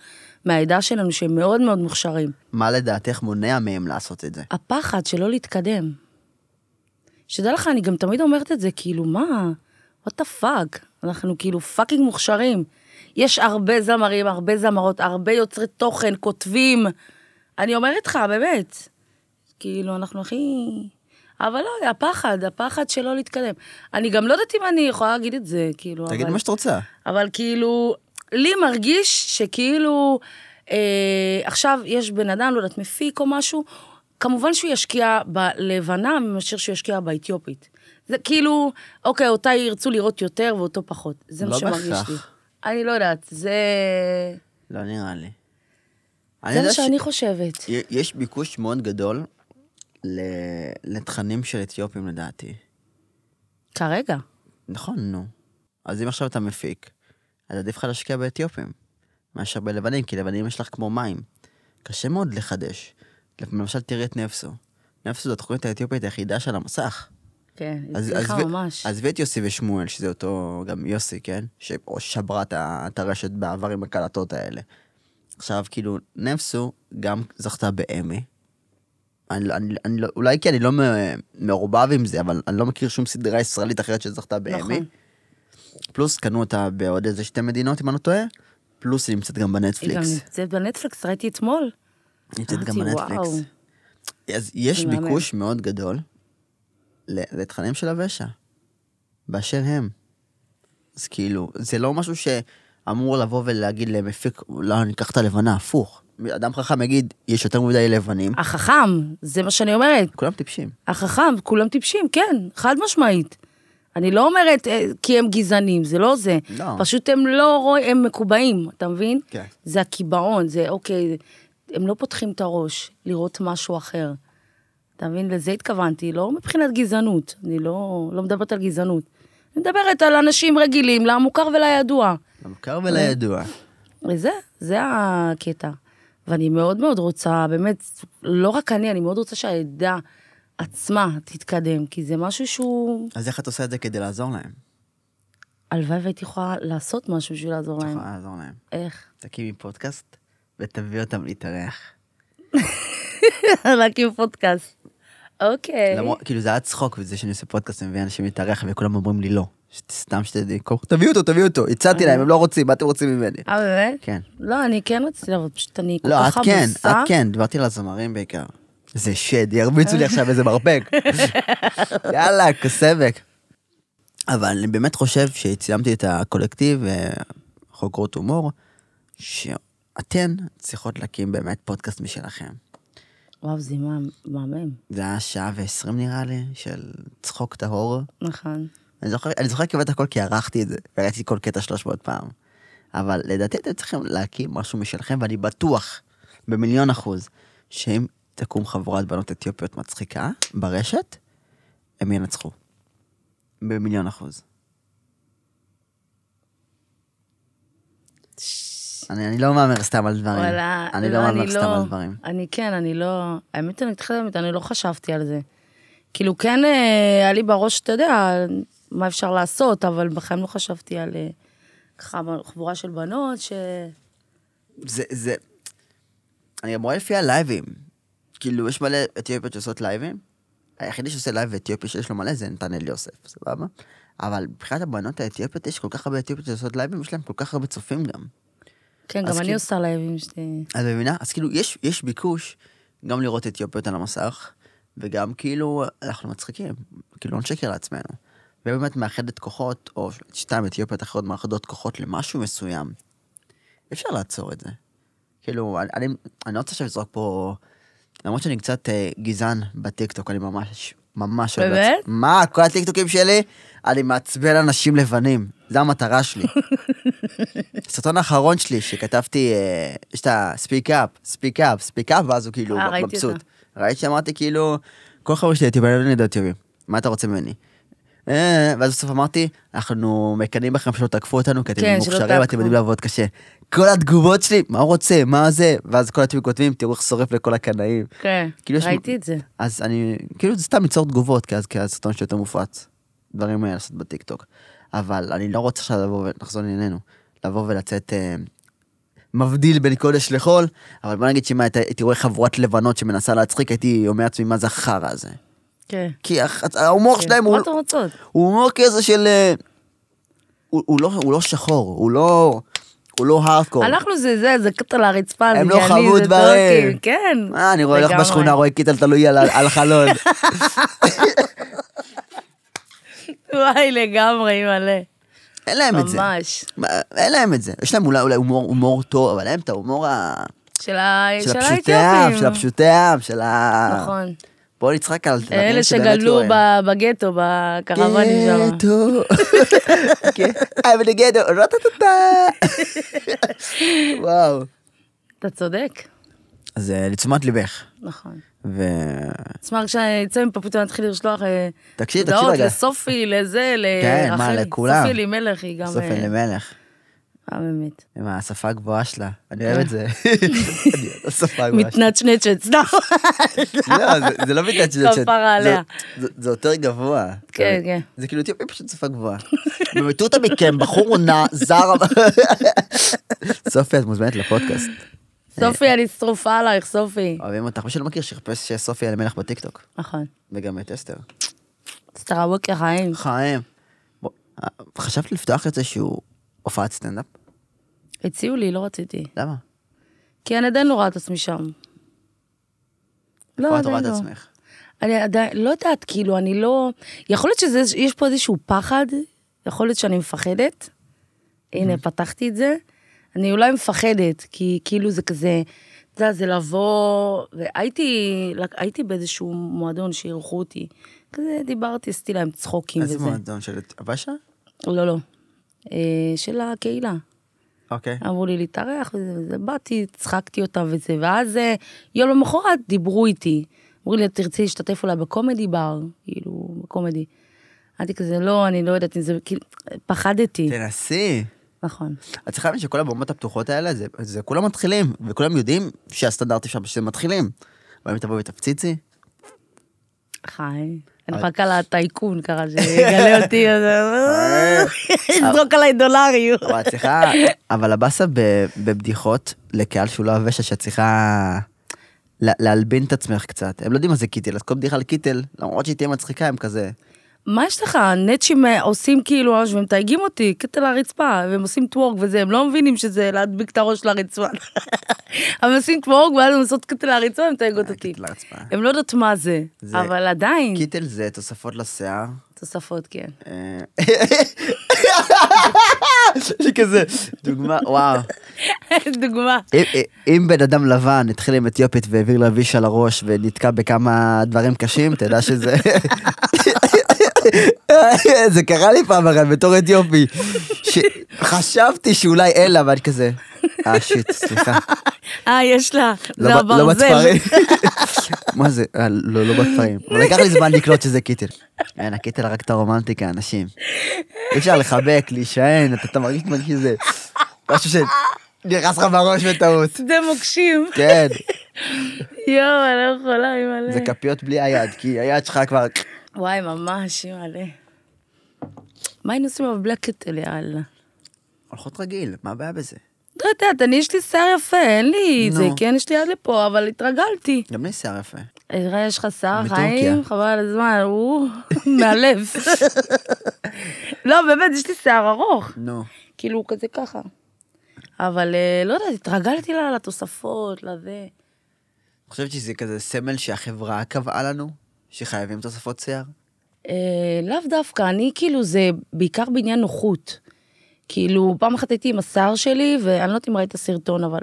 S2: מהעדה שלנו, שהם מאוד מאוד מוכשרים.
S1: מה לדעתך מונע מהם לעשות את זה?
S2: הפחד שלא להתקדם. שתדע לך, אני גם תמיד אומרת את זה, כאילו, מה? what the fuck? אנחנו כאילו פאקינג מוכשרים. יש הרבה זמרים, הרבה זמרות, הרבה יוצרי תוכן, כותבים, אני אומרת לך, באמת. כאילו, אנחנו הכי... אבל לא, הפחד, הפחד שלא להתקדם. אני גם לא יודעת אם אני יכולה להגיד את זה, כאילו,
S1: תגיד
S2: אבל...
S1: מה שאתה רוצה.
S2: אבל כאילו, לי מרגיש שכאילו, אה, עכשיו יש בן אדם, לא יודעת, מפיק או משהו, כמובן שהוא ישקיע בלבנה מאשר שהוא ישקיע באתיופית. זה כאילו, אוקיי, אותה ירצו לראות יותר ואותו פחות. זה מה
S1: לא
S2: שמרגיש לי.
S1: בהכרח.
S2: אני לא יודעת, זה...
S1: לא נראה לי. אני
S2: זה
S1: יודע
S2: מה
S1: ש-
S2: שאני חושבת.
S1: י- יש ביקוש מאוד גדול ל- לתכנים של אתיופים לדעתי.
S2: כרגע.
S1: נכון, נו. אז אם עכשיו אתה מפיק, אז עדיף לך להשקיע באתיופים, מאשר בלבנים, כי לבנים יש לך כמו מים. קשה מאוד לחדש. למשל, תראי את נפסו. נפסו זו התוכנית האתיופית היחידה של המסך.
S2: כן, היא
S1: אז-
S2: הצליחה
S1: אז-
S2: ממש.
S1: עזבי את יוסי ושמואל, שזה אותו, גם יוסי, כן? ששברה את ה- את הרשת בעבר עם הקלטות האלה. עכשיו, כאילו, נפסו גם זכתה באמי. אני, לא- אני, אני, לא- אולי כי אני לא מ- מעורבב עם זה, אבל אני לא מכיר שום סדרה ישראלית אחרת שזכתה באמי.
S2: נכון.
S1: פלוס קנו אותה בעוד איזה שתי מדינות, אם אני לא טועה. פלוס היא נמצאת גם
S2: היא גם
S1: בנטפליקס.
S2: נמצאת בנטפליקס, ראיתי אתמול.
S1: נמצאת גם
S2: אמרתי,
S1: בנטפליקס.
S2: וואו.
S1: אז יש
S2: זה מהמם.
S1: ביקוש מאוד גדול ל- לתכנים של הוושע, באשר הם. אז כאילו, זה לא משהו שאמור לבוא ולהגיד למפיק, לא, ניקח את הלבנה, הפוך. אדם חכם יגיד, יש יותר מדי לבנים,
S2: החכם, זה מה שאני אומרת.
S1: כולם טיפשים.
S2: החכם, כולם טיפשים, כן, חד משמעית. אני לא אומרת אה, כי הם גזענים, זה לא זה.
S1: לא.
S2: פשוט הם לא רואים, הם מקובעים, אתה מבין?
S1: כן.
S2: זה הקיבעון, זה אוקיי, הם לא פותחים את הראש לראות משהו אחר. אתה מבין? לזה התכוונתי, לא מבחינת גזענות, אני לא, לא מדברת על גזענות. אני מדברת על אנשים רגילים, למוכר ולידוע.
S1: למוכר ולידוע.
S2: כן. וזה, זה הקטע. ואני מאוד מאוד רוצה, באמת, לא רק אני, אני מאוד רוצה שהעדה עצמה תתקדם, כי זה משהו שהוא...
S1: אז איך את עושה את זה כדי לעזור להם?
S2: הלוואי והייתי יכולה לעשות משהו בשביל לעזור
S1: את
S2: להם.
S1: יכולה לעזור להם.
S2: איך?
S1: תקימי פודקאסט ותביא אותם להתארח.
S2: להקים פודקאסט. אוקיי.
S1: למרות, כאילו זה היה צחוק וזה שאני עושה פודקאסט ומביא אנשים להתארח וכולם אומרים לי לא. סתם שתדעי, תביאו אותו, תביאו אותו, הצעתי להם, הם לא רוצים, מה אתם רוצים ממני?
S2: אה, באמת?
S1: כן.
S2: לא, אני כן רציתי, אבל פשוט אני כל
S1: לא, את
S2: כך
S1: כן,
S2: עמוסה.
S1: את כן, דיברתי על הזמרים בעיקר. זה שד, ירביצו לי עכשיו איזה מרפק. יאללה, כסבק. אבל אני באמת חושב שצילמתי את הקולקטיב, אה, חוקרות הומור, שאתן צריכות להקים באמת פודקאסט משלכם.
S2: וואו, זה מה- מהמם.
S1: זה היה שעה ועשרים נראה לי, של צחוק טהור.
S2: נכון.
S1: אני זוכר, אני זוכר כמעט הכל כי ערכתי את זה, וראיתי כל קטע 300 פעם. אבל לדעתי אתם צריכים להקים משהו משלכם, ואני בטוח, במיליון אחוז, שאם תקום חבורת בנות אתיופיות מצחיקה ברשת, הם ינצחו. במיליון אחוז. אני, אני לא מהמר סתם על דברים.
S2: וואלה,
S1: אני לא מהמר סתם על דברים.
S2: אני כן, אני לא... האמת, אני אתחילה באמת, אני לא חשבתי על זה. כאילו, כן, אה, היה לי בראש, אתה יודע, מה אפשר לעשות, אבל בחיים לא חשבתי על אה, ככה חבורה של בנות, ש...
S1: זה, זה... אני גם רואה לפי הלייבים. כאילו, יש מלא אתיופיות שעושות לייבים. היחידי שעושה לייב אתיופי שיש לו מלא זה נתנאל יוסף, סבבה? אבל מבחינת הבנות האתיופיות, יש כל כך הרבה אתיופיות שעושות לייבים, יש להם כל כך הרבה צופים גם.
S2: כן,
S1: אז
S2: גם אני
S1: כאילו-
S2: עושה לייבים שלי.
S1: את מבינה? אז כאילו, יש, יש ביקוש גם לראות אתיופיות על המסך, וגם כאילו, אנחנו מצחיקים, כאילו, לא נשקר לעצמנו. ובאמת מאחדת כוחות, או שתיים אתיופיות אחרות מאחדות כוחות למשהו מסוים. אפשר לעצור את זה. כאילו, אני, אני, אני לא רוצה עכשיו לזרוק פה... למרות שאני קצת אה, גזען בטיקטוק, אני ממש, ממש... אוהב
S2: באמת?
S1: לעצ- מה, כל הטיקטוקים שלי? אני מעצבן אנשים לבנים, זו המטרה שלי. הסרטון האחרון שלי שכתבתי, אה, יש את ה-speak up, speak up, speak up, ואז הוא כאילו
S2: אה, ראיתי
S1: מבסוט.
S2: אותה.
S1: ראית שאמרתי כאילו, כל חברה שלי אתיופים, אני לא יודע אתיופים, מה אתה רוצה ממני? אה, ואז בסוף אמרתי, אנחנו מקנאים בכם שלא תקפו אותנו, כי אתם
S2: כן, שלא
S1: מוכשרים, אתם
S2: תעקפו.
S1: יודעים לעבוד קשה. כל התגובות שלי, מה הוא רוצה, מה זה, ואז כל הטובים כותבים, תראו איך שורף לכל הקנאים.
S2: כן,
S1: כאילו יש-
S2: ראיתי את זה.
S1: אז אני, כאילו זה סתם ליצור תגובות, כי אז כי הסרטון שיותר מופץ. דברים אה, לעשות בטיקטוק. אבל אני לא רוצה עכשיו לבוא ונחזור לענייננו. לבוא ולצאת אה, מבדיל בין קודש לחול, אבל בוא נגיד שאם היית- הייתי רואה חבורת לבנות שמנסה להצחיק, הייתי אומר לעצמי מה זה החרא הזה.
S2: כן.
S1: כי הח- ההומור
S2: כן.
S1: שלהם הוא...
S2: מה אתם רוצות?
S1: הוא הומור כזה של... אה, הוא, הוא, לא, הוא לא שחור, הוא לא... אנחנו לא הארדקור.
S2: הלכנו זה זה, זה קטע לרצפה, זה
S1: הם לא
S2: יעני,
S1: חוו
S2: זה
S1: דברים.
S2: טורקים, כן.
S1: אה, אני רואה, הולך
S2: לגמרי.
S1: בשכונה, רואה קיטל תלוי על ה- על החלון.
S2: וואי, לגמרי, אימא'לה.
S1: אין להם את זה.
S2: ממש.
S1: מה, אין להם את זה. יש להם אולי אולי הומור- הומור טוב, אבל אין להם את ההומור ה-
S2: של ה-
S1: של
S2: אה, של
S1: הפשוטי העם,
S2: האתיופים.
S1: של הפשוטי העם, של ה...
S2: נכון.
S1: בואו נצחק על דברים
S2: אלה
S1: שבאמת
S2: שגדלו
S1: לא הם.
S2: ב- בגטו, בקרוונים שם.
S1: גטו. כן. I'm in the ghetto. רטטטה. וואו.
S2: אתה צודק,
S1: אז אה, לתשומת ליבך.
S2: נכון.
S1: ו...
S2: תשמע, כשאצא מפה פתאום נתחיל לשלוח אה,
S1: תקשיב, תקשיב
S2: הודעות
S1: רגע.
S2: לסופי, לזה, לרחלי.
S1: כן, מה, לכולם.
S2: סופי אלימלך היא גם...
S1: בסוף
S2: אה,
S1: אין למלך.
S2: עממית.
S1: עם השפה הגבוהה שלה. אני
S2: כן.
S1: אוהב את זה. אני אוהב את השפה הגבוהה שלה.
S2: מתנצ'נצ'ת, סתם.
S1: לא, זה- זה לא מתנת שזה...
S2: כפרה עליה.
S1: זה- זה יותר גבוה.
S2: כן, כן.
S1: זה כאילו טיפי פשוט שפה גבוהה. במטותא מכם, בחור נע, זר. סופי, את מוזמנת לפודקאסט.
S2: סופי, אני שרופה עלייך, סופי.
S1: אוהבים אותך. מי שלא מכיר, שיחפש שסופי על המלך בטיקטוק.
S2: נכון.
S1: וגם את אסתר.
S2: סטראבוק לחיים.
S1: חיים. בוא, אה, חשבת לפתוח איזשהו הופעת סטנדאפ?
S2: הציעו לי, לא רציתי.
S1: למה?
S2: כי אני עדיין לא רואה את עצמי שם.
S1: איפה
S2: לא,
S1: את רואה
S2: עדיין
S1: את
S2: לא.
S1: עצמך?
S2: אני עדיין, לא יודעת, כאילו, אני לא... יכול להיות שזה, יש פה איזשהו פחד, יכול להיות שאני מפחדת.
S1: אוקיי.
S2: הנה, פתחתי את זה. אני אולי מפחדת, כי כאילו זה כזה, אתה יודע, זה לבוא... והייתי הייתי באיזשהו מועדון שאירחו אותי. כזה דיברתי, עשיתי להם צחוקים וזה.
S1: איזה מועדון של הבשה?
S2: לא, לא. אה, של הקהילה.
S1: אוקיי.
S2: אמרו לי להתארח וזה וזה, באתי, צחקתי אותם וזה, ואז אה, יום למחרת דיברו איתי. אמרו לי, תרצי להשתתף אולי בקומדי בר, כאילו, בקומדי. אמרתי כזה, לא, אני לא יודעת אם זה, כאילו, פחדתי.
S1: כן. תנסי.
S2: נכון.
S1: את צריכה להבין שכל הבמות הפתוחות האלה, זה, זה כולם מתחילים, וכולם יודעים שהסטנדרטים שם שזה מתחילים. אבל אם תבואי ותפציצי,
S2: חי. אני מחכה לטייקון ככה, שיגלה אותי, אז- יזרוק עליי דולרים.
S1: אבל את צריכה... אבל הבאסה ב- בבדיחות לקהל שהוא לא הוושע, שאת צריכה לה- להלבין את עצמך קצת. הם לא יודעים מה זה קיטל, אז כל בדיחה על קיטל, למרות שהיא תהיה מצחיקה, הם כזה...
S2: מה יש לך? נצ'ים אה, עושים כאילו ממש, והם מתייגים אותי, קטע לרצפה, והם עושים טוורק וזה, הם לא מבינים שזה להדביק את הראש לרצפה. אבל הם עושים טוורק ואז הם עושות קטע לרצפה, הם מתייגות אותי.
S1: קיטל אה, לרצפה.
S2: הם לא יודעות מה זה,
S1: זה-
S2: אבל עדיין,
S1: קיטל זה תוספות לשיער.
S2: תוספות, כן.
S1: אה, שכזה, דוגמה, וואו.
S2: דוגמה.
S1: אם- אם בן אדם לבן התחיל עם אתיופית והעביר להביש על הראש ונתקע בכמה דברים קשים, תדע שזה... זה קרה לי פעם אחת בתור אתיופי, שחשבתי שאולי אלה, אבל אני כזה, אה שיט, סליחה,
S2: אה, יש לה,
S1: לא
S2: זה
S1: ב- לא
S2: הברזל.
S1: בתפרים. מה זה, אה, לא לא בתפרים. אבל לקח לי זמן לקלוט שזה קיטל. אין, הקיטל הרג את הרומנטיקה, אנשים. אי אפשר לחבק, להישען, אתה- אתה מרגיש מרגיש שזה משהו שנכנס לך בראש בטעות.
S2: זה מוקשים.
S1: כן.
S2: יואו, אני לא יכולה,
S1: זה
S2: אימא'לה.
S1: כפיות בלי היד, כי היד שלך כבר...
S2: וואי, ממש, אימא'לה. מה היינו עושים אבל בלי הקטע, יאללה.
S1: הולכות רגיל, מה הבעיה בזה?
S2: לא יודעת, אני יש לי שיער יפה, אין לי את זה,
S1: נו.
S2: כן, יש לי יד לפה, אבל התרגלתי.
S1: גם לי שיער יפה.
S2: אה, יש לך שיער
S1: מטורקיה.
S2: חיים, חבל על הזמן, הוא מהלב. לא, באמת, יש לי שיער ארוך,
S1: נו.
S2: כאילו, הוא כזה ככה. אבל אה, לא יודעת, התרגלתי לה לתוספות, לזה.
S1: את חושבת שזה כזה סמל שהחברה קבעה לנו? שחייבים תוספות שיער?
S2: אה, לאו דווקא, אני כאילו, זה בעיקר בעניין נוחות. כאילו, פעם אחת הייתי עם השיער שלי, ואני לא יודעת אם ראית את הסרטון, אבל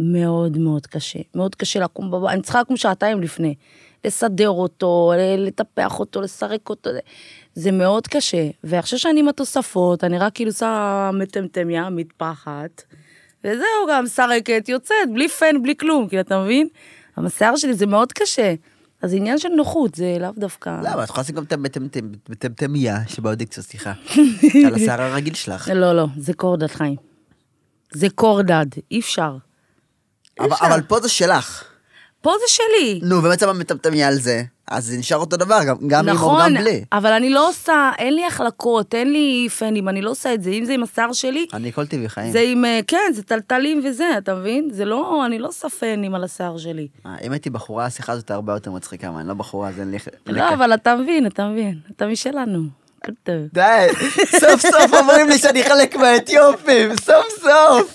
S2: מאוד מאוד קשה. מאוד קשה לקום בבית, אני צריכה לקום שעתיים לפני. לסדר אותו, ל- לטפח אותו, לסרק אותו, זה- זה מאוד קשה. ועכשיו שאני עם התוספות, אני רק כאילו שרה מטמטמיה, מטפחת, וזהו, גם סרקת, יוצאת, בלי פן, בלי כלום, כאילו, אתה מבין? אבל השיער שלי זה מאוד קשה. אז זה עניין של נוחות, זה לאו דווקא...
S1: לא, אבל את יכולה לשים גם את המטמטם- מטמטמיה שבאודיקציה, סליחה. על השיער הרגיל שלך.
S2: לא, לא, זה קורדד, חיים. זה קורדד, אי אפשר.
S1: אבל אבל פה זה שלך.
S2: פה זה שלי.
S1: נו, ובעצם המטמטמיה על זה, אז זה נשאר אותו דבר, גם- גם עם או
S2: נכון,
S1: גם בלי.
S2: אבל אני לא עושה, אין לי החלקות, אין לי פנים, אני לא עושה את זה. אם זה עם השיער שלי,
S1: אני כל טבעי חיים.
S2: זה עם, אה, כן, זה טלטלים וזה, אתה מבין? זה לא, אני לא עושה פנים על השיער שלי.
S1: אה, אם הייתי בחורה, השיחה הזאת הרבה יותר מצחיקה, אבל אני לא בחורה, אז אין לי...
S2: לא, אבל אתה מבין, אתה מבין. אתה משלנו. הכל טוב.
S1: די, סוף סוף אומרים לי שאני חלק מהאתיופים, סוף סוף.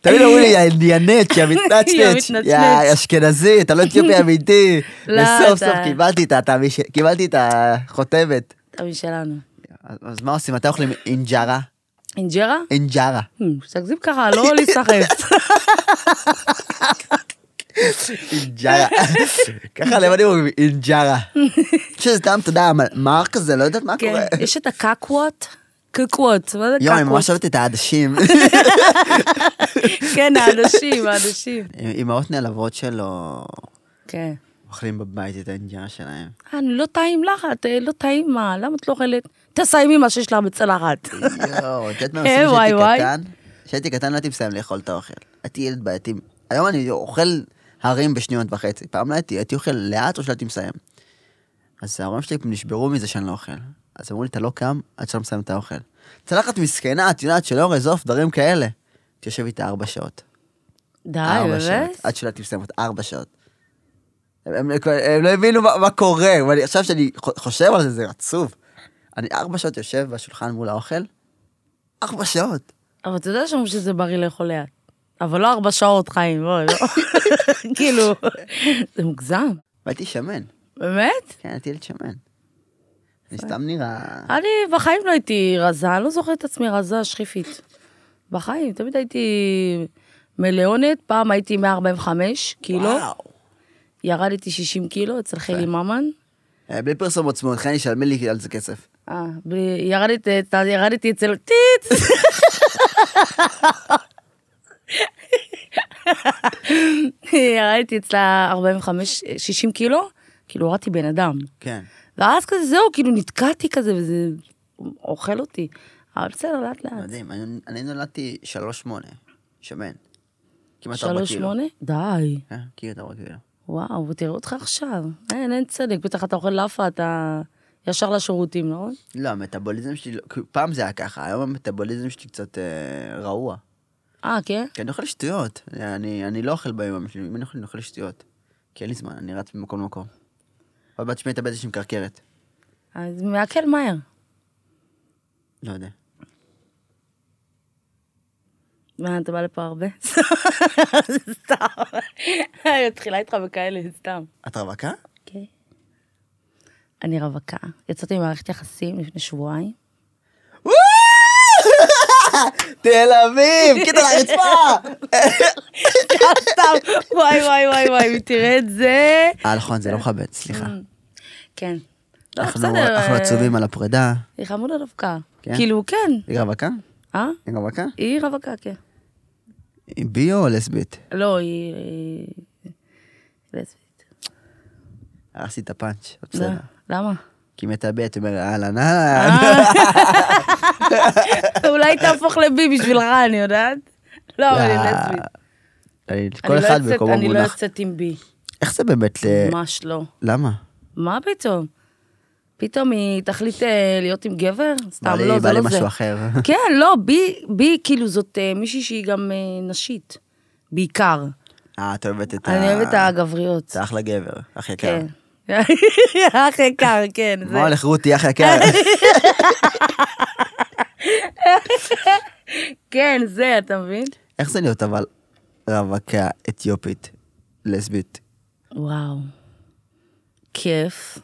S1: תמיד אומרים לי, יא ינץ, יא מתנצנץ,
S2: יא מתנצנץ.
S1: יא אשכנזי, אתה לא אתיופי אמיתי.
S2: לא,
S1: וסוף
S2: אתה-
S1: סוף קיבלתי את ה- את המש- קיבלתי את החותמת.
S2: אתה משלנו.
S1: אז- אז מה עושים? מתי אוכלים אינג'רה?
S2: אינג'רה?
S1: אינג'רה.
S2: Hmm, תגזים ככה, לא להיסחף.
S1: אינג'רה. ככה לבנים אומרים אינג'רה. שזה טעם, אתה יודע, מר כזה, לא יודעת מה
S2: כן,
S1: קורה.
S2: יש את הקקוואט. קקוואט, מה זה
S1: יואו, אני
S2: קקוואט?
S1: ממש אוהבת את העדשים.
S2: כן, האנשים, האנשים.
S1: אמהות נעלבות שלו
S2: כן.
S1: אוכלים בבית את האינג'רה שלהם.
S2: אה, לא טעים לך, את אה, לא טעים מה, למה את לא אוכלת? תסיימי מה שיש לך בצלחת.
S1: יואו, את יודעת מה
S2: אה,
S1: עושים
S2: וואי,
S1: כשהייתי
S2: וואי.
S1: קטן? כשהייתי קטן לא הייתי מסיים לאכול את האוכל. הייתי ילד בעייתי. היום אני אוכל הרים בשניות וחצי. פעם לא הייתי, הייתי אוכל לאט או שלא הייתי מסיים. אז ההורים שלי נשברו מזה שאני לא אוכל. אז אמרו לי, אתה לא קם עד שאתה לא מסיים את האוכל. צלחת מסכנה, את יודעת, של אורז עוף, דברים כאלה. תשב איתה ארבע שעות.
S2: די,
S1: ארבע
S2: אה, באמת?
S1: שעות. עד שלא הייתי מסיים אותה, ארבע שעות. הם- הם הם לא הבינו מה מה קורה, ואני- עכשיו שאני חו- חושב על זה, זה עצוב. אני ארבע שעות יושב בשולחן מול האוכל, ארבע שעות.
S2: אבל אתה יודע שאומרים שזה בריא לאכול לאט. אבל לא ארבע שעות חיים, בואי, לא. כאילו, זה מוגזם.
S1: והייתי שמן,
S2: באמת?
S1: כן, הייתי ילד שמן. אני סתם נראה...
S2: אני בחיים לא הייתי רזה, אני לא זוכרת את עצמי רזה, שכיפית. בחיים, תמיד הייתי מלאונת, פעם הייתי 145 קילו,
S1: וואו.
S2: ירדתי 60 קילו אצל חלי ממן.
S1: אה, בלי פרסום עצמות, חן ישלמי לי על זה כסף.
S2: אה, בלי- ירדתי, אה, ת- ירדתי אצל טיץ. ירדתי אצלה 45, 60 קילו, כאילו הורדתי בן אדם.
S1: כן.
S2: ואז כזה זהו, כאילו נתקעתי כזה, וזה אוכל אותי. אבל בסדר, לאט לאט.
S1: מדהים, אני- אני נולדתי שלוש שמונה, שמן. כמעט ארבע
S2: שלוש
S1: קילו.
S2: שמונה? די.
S1: כן, כמעט ארבע קילו.
S2: וואו, ותראו אותך עכשיו. אין, אין צדק, בטח אתה אוכל לאפה, אתה ישר לשירותים, נכון?
S1: לא, המטאבוליזם שלי, לא- כאילו, פעם זה היה ככה, היום המטאבוליזם שלי קצת אה, רעוע.
S2: אה, כן?
S1: כי אני אוכל שטויות, אני, אני לא אוכל ביום שלי, אם אני אוכל, אני אוכל שטויות. כי אין לי זמן, אני רץ ממקום למקום. עוד מעט שמי את הבטן שמקרקרת.
S2: אז מעכל מהר.
S1: לא יודע.
S2: מה, אתה בא לפה הרבה? סתם. אני מתחילה איתך בכאלה, סתם.
S1: את רווקה?
S2: אוקיי. אני רווקה. יצאתי ממערכת יחסים לפני שבועיים.
S1: תל אביב! קטע לרצפה!
S2: סתם, וואי, וואי, וואי, וואי, אם תראה את זה.
S1: אה, נכון, זה לא מכבד, סליחה.
S2: כן. לא,
S1: אנחנו
S2: בסדר.
S1: אנחנו
S2: אה,
S1: עצובים על הפרידה.
S2: היא חמודה דווקא.
S1: כן?
S2: כאילו, כן.
S1: היא רווקה?
S2: אה?
S1: היא רווקה?
S2: היא רווקה, כן.
S1: היא ביו או לסבית?
S2: לא, היא... היא- לסבית. לא,
S1: הרסתי את הפאנץ', בסדר. אה.
S2: למה?
S1: כי מתה בי, את אומרת,
S2: אה,
S1: אהלן, אהלן.
S2: אולי תהפוך לבי בשבילך, אני יודעת. לא, אבל היא לסבית.
S1: אה, אני-
S2: אני
S1: כל
S2: לא
S1: אחד
S2: יוצאת-
S1: במקומו
S2: אני לא
S1: מונח. אה.
S2: יוצאת עם בי.
S1: איך זה באמת ל...
S2: ממש לא.
S1: למה?
S2: מה פתאום? פתאום היא תחליט אה, להיות עם גבר? סתם,
S1: בא
S2: לא,
S1: לי-
S2: זה לא זה.
S1: בא לי משהו אחר.
S2: כן, לא, בי, בי, כאילו, זאת אה, מישהי שהיא גם אה, נשית, בעיקר.
S1: אה, את אוהבת את ה...
S2: אני אוהבת את הגבריות.
S1: אתה אחלה גבר, אח יקר.
S2: כן. אח יקר, כן. זה-
S1: מה הולך רותי, אח יקר?
S2: כן, זה, אתה מבין?
S1: איך זה להיות אבל רווקה אתיופית, לסבית?
S2: וואו, כיף.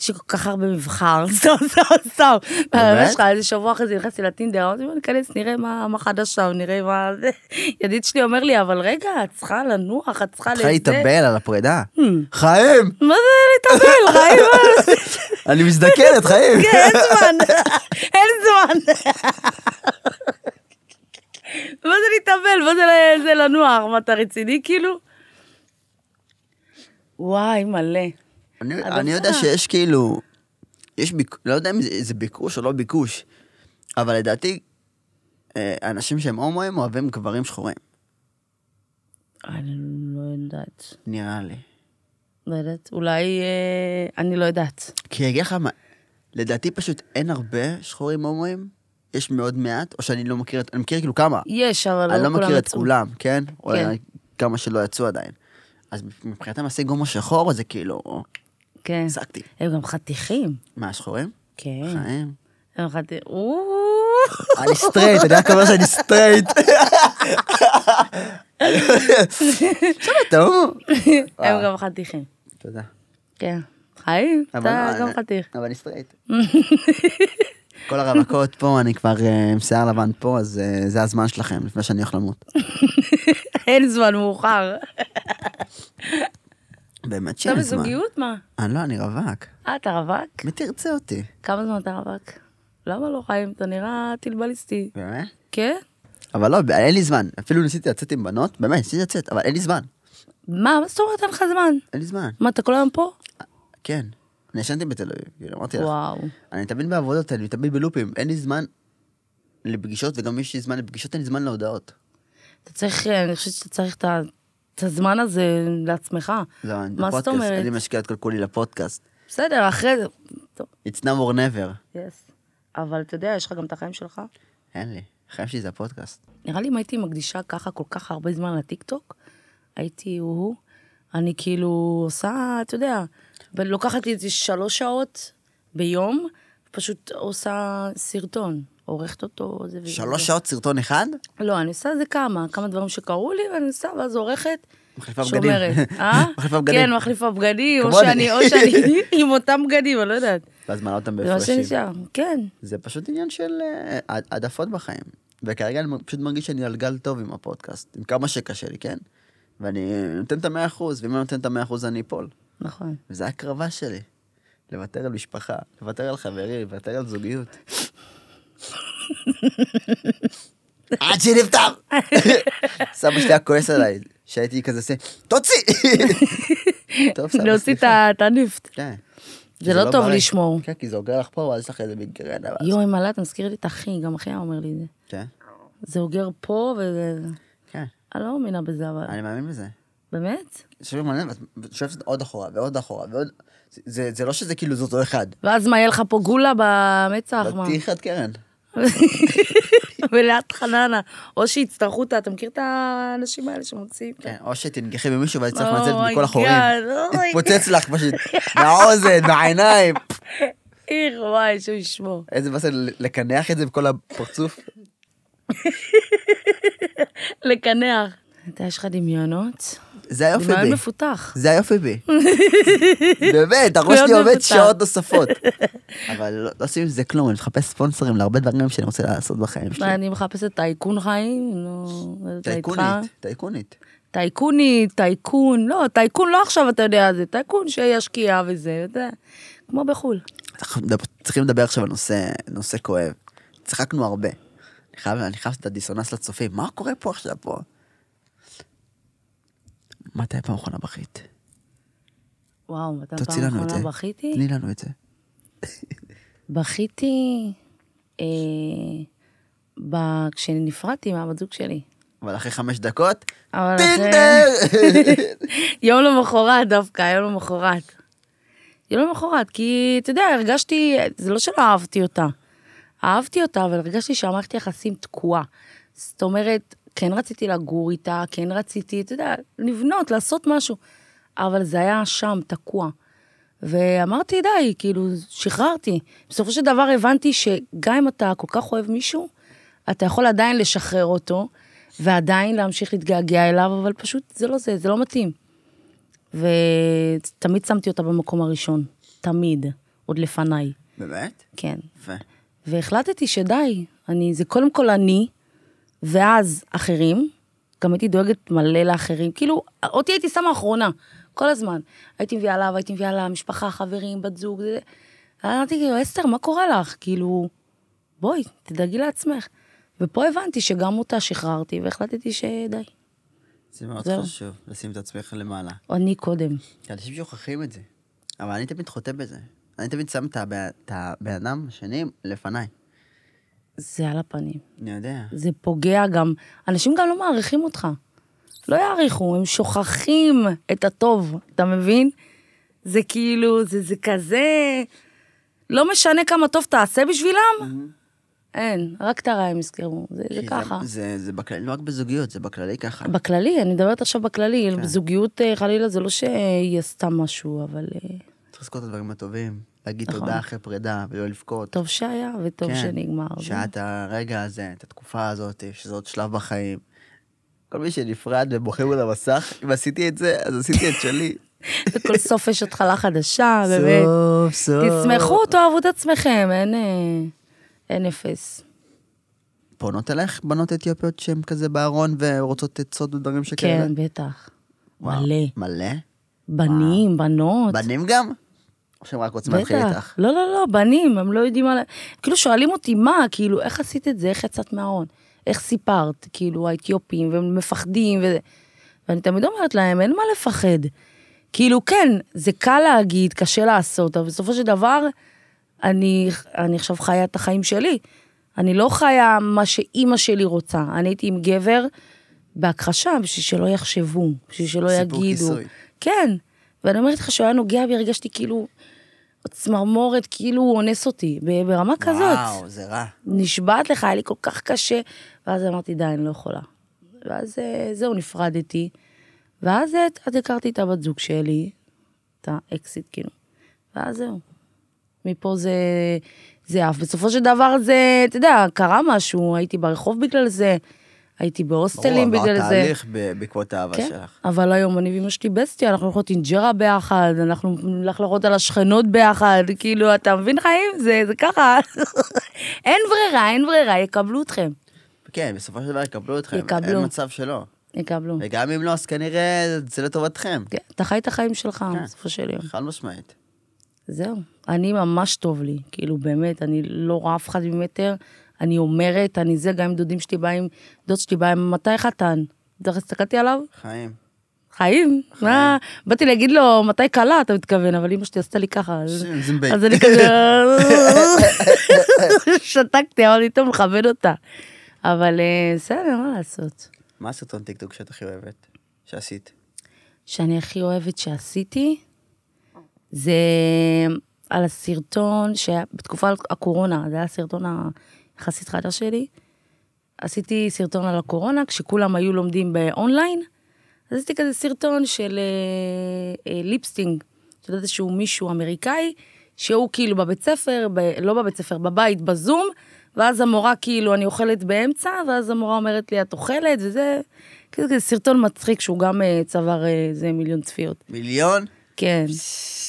S2: יש לי כל כך הרבה מבחר, סתם, סתם, סתם.
S1: באמת?
S2: יש לך איזה שבוע אחרי זה נכנסתי לטינדר, אמרתי, בוא ניכנס, נראה מה מה חדש שם, נראה מה זה. ידיד שלי אומר לי, אבל רגע, את צריכה לנוח, את צריכה
S1: את צריכה
S2: לזה. Hmm.
S1: להתאבל על הפרידה? חיים!
S2: מה זה להתאבל, חיים?
S1: אני מזדקנת, חיים!
S2: כן, אין זמן, אין זמן. מה זה להתאבל? מה זה ל- זה לנוח? מה, אתה רציני כאילו? וואי, מלא.
S1: אני-
S2: הדבר-
S1: אני יודע שיש כאילו, יש ביק... לא יודע אם זה, זה ביקוש או לא ביקוש, אבל לדעתי, אה, אנשים שהם הומואים אוהבים גברים שחורים,
S2: אני לא יודעת.
S1: נראה לי.
S2: לא יודעת, אולי... אה, אני לא יודעת.
S1: כי אני אגיד לך מה, לדעתי פשוט אין הרבה שחורים הומואים, יש מאוד מעט, או שאני לא מכיר, את- אני מכיר כאילו כמה,
S2: יש, אבל לא
S1: אני לא
S2: כולם
S1: מכיר את
S2: יצאו.
S1: כולם, כן? או
S2: כן.
S1: אולי כמה שלא יצאו עדיין. אז מבחינתם להשיג הומו שחור זה כאילו,
S2: כן.
S1: הפסקתי.
S2: הם גם חתיכים.
S1: מה, שחורים?
S2: כן.
S1: חיים.
S2: יום אחד, "או,
S1: אני סטרייט, אני רק אומר שאני סטרייט. עכשיו אתה לא...
S2: הם גם חתיכים.
S1: תודה.
S2: כן. חיים,
S1: אבל
S2: אתה
S1: לא,
S2: גם
S1: אני-
S2: חתיך.
S1: אבל אני סטרייט. כל הרווקות פה, אני כבר אה, עם שיער לבן פה, אז אה, זה הזמן שלכם, לפני שאני הולך למות.
S2: אין זמן מאוחר.
S1: באמת
S2: אתה
S1: שאין זמן.
S2: בזוגיות? מה?
S1: אני לא, אני רווק.
S2: אה, אתה רווק?
S1: מי תרצה אותי?
S2: כמה זמן אתה רווק? למה לא חיים? אתה נראה טיל בליסטי.
S1: באמת?
S2: כן?
S1: אבל לא, אין לי זמן. אפילו ניסיתי לצאת עם בנות, באמת, ניסיתי לצאת, אבל אין לי זמן.
S2: מה, מה זאת אומרת אין לך זמן?
S1: אין לי זמן.
S2: מה, אתה כל היום פה?
S1: כן. אני ישנתי בתל אביב, כאילו, אמרתי לך.
S2: וואו.
S1: אני תמיד בעבודות, אני תמיד בלופים, אין לי זמן לפגישות, וגם יש לי זמן לפגישות, אין לי זמן להודעות.
S2: אתה צריך, אה, אני חושבת שאתה צריך את ה- את הזמן הזה לעצמך.
S1: לא, אני
S2: מה זאת
S1: בפודקאסט, אני
S2: אומרת?
S1: משקיע את כל כולי לפודקאסט.
S2: בסדר, אחרי זה. טוב,
S1: It's now or never.
S2: יס. אבל אתה יודע, יש לך גם את החיים שלך.
S1: אין לי. החיים שלי זה הפודקאסט.
S2: נראה לי אם הייתי מקדישה ככה כל כך הרבה זמן לטיקטוק, הייתי הוא, אני כאילו עושה, אתה יודע, לוקחת לי איזה שלוש שעות ביום, פשוט עושה סרטון, עורכת אותו. זה וזה.
S1: שלוש שעות סרטון אחד?
S2: לא, אני עושה איזה כמה, כמה דברים שקרו לי, ואני עושה, ואז עורכת.
S1: מחליפה בגדים.
S2: שומרת, אה?
S1: מחליפה בגדים.
S2: כן, מחליפה בגדים, או
S1: כמוני.
S2: שאני, או שאני עם אותם בגדים, אני לא יודעת.
S1: ואז מעלה אותם
S2: זה לא מה
S1: בהפרשים.
S2: שנשאר, כן.
S1: זה פשוט עניין של אה, העד- העדפות בחיים. וכרגע אני פשוט מרגיש שאני על גל טוב עם הפודקאסט, עם כמה שקשה לי, כן? ואני נותן את המאה אחוז, ואם אני נותן את המאה אחוז אני אפול.
S2: נכון.
S1: וזו הקרבה שלי. לוותר על משפחה, לוותר על חברים, לוותר על זוגיות. עד שנפטר! סבא שלי היה כועס עליי, שהייתי כזה עושה, תוציא! טוב, סבא,
S2: להוציא את
S1: לא סליחה.
S2: ה- את הנפט.
S1: כן.
S2: זה לא טוב
S1: בריא.
S2: לשמור.
S1: כן, כי זה אוגר לך פה, ואז יש לך איזה מיגרנה. ואז-
S2: יואי, מלא, אתה מזכיר לי את אחי, גם אחי היה אומר לי את זה.
S1: כן,
S2: זה אוגר פה, וזה...
S1: כן,
S2: אני לא מאמינה בזה, אבל...
S1: אני מאמין בזה.
S2: באמת?
S1: שואלים עליהם, ואת שואפת עוד אחורה, ועוד אחורה, ועוד... זה- זה זה לא שזה כאילו זה אותו אחד.
S2: ואז מה, יהיה לך פה גולה במצח, מה?
S1: תהיי חד קרן.
S2: וליד חננה. או שיצטרכו אותה, אתה מכיר את האנשים האלה שמוציאים?
S1: כן, או שתנגחי במישהו ואז צריך
S2: Oh
S1: לצאת
S2: my
S1: מכל החורים.
S2: God, oh my
S1: התפוצץ לך פשוט, מהאוזן, מהעיניים.
S2: איך, וואי, שהוא ישמור.
S1: איזה באסל לקנח את זה בכל הפרצוף.
S2: לקנח. אתה, יש לך דמיונות?
S1: זה היופי
S2: דמיון
S1: בי.
S2: מפותח.
S1: זה היופי בי. באמת, הראש
S2: מאוד
S1: שלי עובד
S2: מפותח.
S1: שעות נוספות. אבל לא- לא עושים עם זה כלום, אני מחפש ספונסרים להרבה דברים שאני רוצה לעשות בחיים שלי.
S2: אני מחפשת טייקון חיים, נו, אתה איתך?
S1: טייקונית, טייקונית.
S2: טייקונית, טייקון, לא, טייקון לא עכשיו, אתה יודע, זה טייקון שישקיע וזה, אתה יודע, כמו בחו"ל.
S1: אנחנו מדבר- צריכים לדבר עכשיו על נושא, נושא כואב. צחקנו הרבה. אני חייב, אני חייב לעשות את הדיסוננס לצופים. מה קורה פה עכשיו פה? מתי פעם אחרונה בכית?
S2: וואו, מתי
S1: תוציא
S2: פעם
S1: לנו את זה.
S2: אחרונה בכיתי?
S1: תני לנו את זה.
S2: בכיתי אה, ב- כשנפרדתי מהבת זוג שלי.
S1: אבל אחרי חמש דקות,
S2: אבל אחרי-
S1: טינדר!
S2: יום למחרת דווקא, יום למחרת. יום למחרת, כי אתה יודע, הרגשתי, זה לא שלא אהבתי אותה. אהבתי אותה, אבל הרגשתי שהמערכת יחסים תקועה. זאת אומרת, כן רציתי לגור איתה, כן רציתי, אתה יודע, לבנות, לעשות משהו. אבל זה היה שם, תקוע. ואמרתי, די, כאילו, שחררתי. בסופו של דבר הבנתי שגם אם אתה כל כך אוהב מישהו, אתה יכול עדיין לשחרר אותו, ועדיין להמשיך להתגעגע אליו, אבל פשוט זה לא זה, זה לא מתאים. ותמיד שמתי אותה במקום הראשון, תמיד, עוד לפניי,
S1: באמת?
S2: כן.
S1: יפה.
S2: והחלטתי שדי, אני, זה קודם כל אני, ואז אחרים, גם הייתי דואגת מלא לאחרים, כאילו, אותי הייתי שמה אחרונה, כל הזמן. הייתי מביאה לה, והייתי מביאה לה משפחה, חברים, בת זוג, זה... אמרתי, כאילו, אסתר, מה קורה לך? כאילו, בואי, תדאגי לעצמך. ופה הבנתי שגם אותה שחררתי, והחלטתי שדי,
S1: זה מאוד
S2: זהו.
S1: חשוב, לשים את עצמך למעלה.
S2: אני קודם.
S1: כי אנשים שוכחים את זה. אבל אני תמיד חוטא בזה. אני תמיד שם את הבן- את הבן אדם השני לפניי.
S2: זה על הפנים.
S1: אני יודע.
S2: זה פוגע גם, אנשים גם לא מעריכים אותך. לא יעריכו, הם שוכחים את הטוב, אתה מבין? זה כאילו, זה, זה כזה... לא משנה כמה טוב תעשה בשבילם, אין, רק את הרע הם יזכרו, זה, זה
S1: Mm-hmm. כי
S2: ככה.
S1: זה, זה בכללי, לא רק בזוגיות, זה בכללי ככה.
S2: בכללי, אני מדברת עכשיו בכללי,
S1: כן.
S2: בזוגיות אה, חלילה זה לא שהיא עשתה משהו, אבל... אה,
S1: צריך לזכור את הדברים הטובים. להגיד
S2: נכון.
S1: תודה אחרי פרידה, ולא לבכות.
S2: טוב שהיה וטוב
S1: כן,
S2: שנגמר.
S1: שהיה את הרגע הזה, את התקופה הזאת, שזה עוד שלב בחיים. כל מי שנפרד ובוכה מול המסך, אם עשיתי את זה, אז עשיתי את שלי.
S2: וכל סוף יש התחלה חדשה, באמת.
S1: סוף, סוף.
S2: תשמחו, תאהבו את עצמכם, אין, אה, אין אפס.
S1: פונות אלייך בנות אתיופיות שהן כזה בארון ורוצות עצות ודברים שכאלה?
S2: כן, בטח.
S1: וואו,
S2: מלא.
S1: מלא?
S2: בנים, בנות.
S1: בנים גם? או שהם רק רוצים להתחיל איתך?
S2: לא, לא, לא, בנים, הם לא יודעים על... כאילו, שואלים אותי, מה, כאילו, איך עשית את זה? איך יצאת מהארון? איך סיפרת? כאילו, האתיופים, והם מפחדים וזה. ואני תמיד אומרת להם, אין מה לפחד. כאילו, כן, זה קל להגיד, קשה לעשות, אבל בסופו של דבר, אני, אני עכשיו חיה את החיים שלי. אני לא חיה מה שאימא שלי רוצה. אני הייתי עם גבר בהכחשה, בשביל שלא יחשבו, בשביל שלא
S1: סיפור
S2: יגידו.
S1: כיסוי.
S2: כן. ואני אומרת לך, שהוא היה נוגע בי, הרגשתי כאילו צמרמורת, כאילו הוא אונס אותי, ב- ברמה כזאת.
S1: וואו, זה רע.
S2: נשבעת לך, היה לי כל כך קשה. ואז אמרתי, די, אני לא יכולה. ואז אה, זהו, נפרדתי. ואז אה, אז הכרתי את הבת זוג שלי, את האקסיט, כאילו. ואז זהו. מפה זה, זה עף. בסופו של דבר זה, אתה יודע, קרה משהו, הייתי ברחוב בגלל זה, הייתי בהוסטלים
S1: ברור,
S2: בגלל זה.
S1: עברת תהליך ב- בעקבות האהבה
S2: כן,
S1: שלך.
S2: אבל היום אני ואמא שלי בסטיה, אנחנו הולכות אינג'רה ביחד, אנחנו נלך לראות על השכנות ביחד, כאילו, אתה מבין חיים? זה, זה ככה. אין ברירה, אין ברירה, יקבלו אתכם.
S1: כן, בסופו של דבר יקבלו אתכם.
S2: יקבלו.
S1: אין מצב שלא.
S2: יקבלו.
S1: וגם אם לא, אז כנראה זה לטובתכם.
S2: כן, אתה חי את החיים שלך,
S1: כן.
S2: בסופו של יום.
S1: חד משמעית.
S2: זהו. אני ממש טוב לי, כאילו, באמת, אני לא רואה אף אחד ממטר, אני אומרת, אני זה, גם עם דודים שלי באים, דוד שלי בא עם מתי חתן? אתה יודע איך הסתכלתי עליו?
S1: חיים.
S2: חיים, מה? באתי להגיד לו, מתי כלה אתה מתכוון, אבל אמא שלי עשתה לי ככה. אז-
S1: שם, זמבי.
S2: אז אני כזה... שתקתי, אמרתי, טוב, לכבד אותה. אבל אה, בסדר, מה לעשות?
S1: מה הסרטון טיקטוק שאת הכי אוהבת? שעשית?
S2: שאני הכי אוהבת שעשיתי, זה על הסרטון שהיה בתקופת הקורונה, זה היה הסרטון היחסית חדש שלי. עשיתי סרטון על הקורונה, כשכולם היו לומדים באונליין, אז עשיתי כזה סרטון של אה, אה, ליפסטינג, אתה יודע, שהוא מישהו אמריקאי, שהוא כאילו בבית ספר, ב, לא בבית ספר, בבית, בזום, ואז המורה כאילו, אני אוכלת באמצע, ואז המורה אומרת לי, את אוכלת, וזה, כאילו, כזה סרטון מצחיק שהוא גם אה, צבר אה, איזה מיליון צפיות.
S1: מיליון?
S2: כן.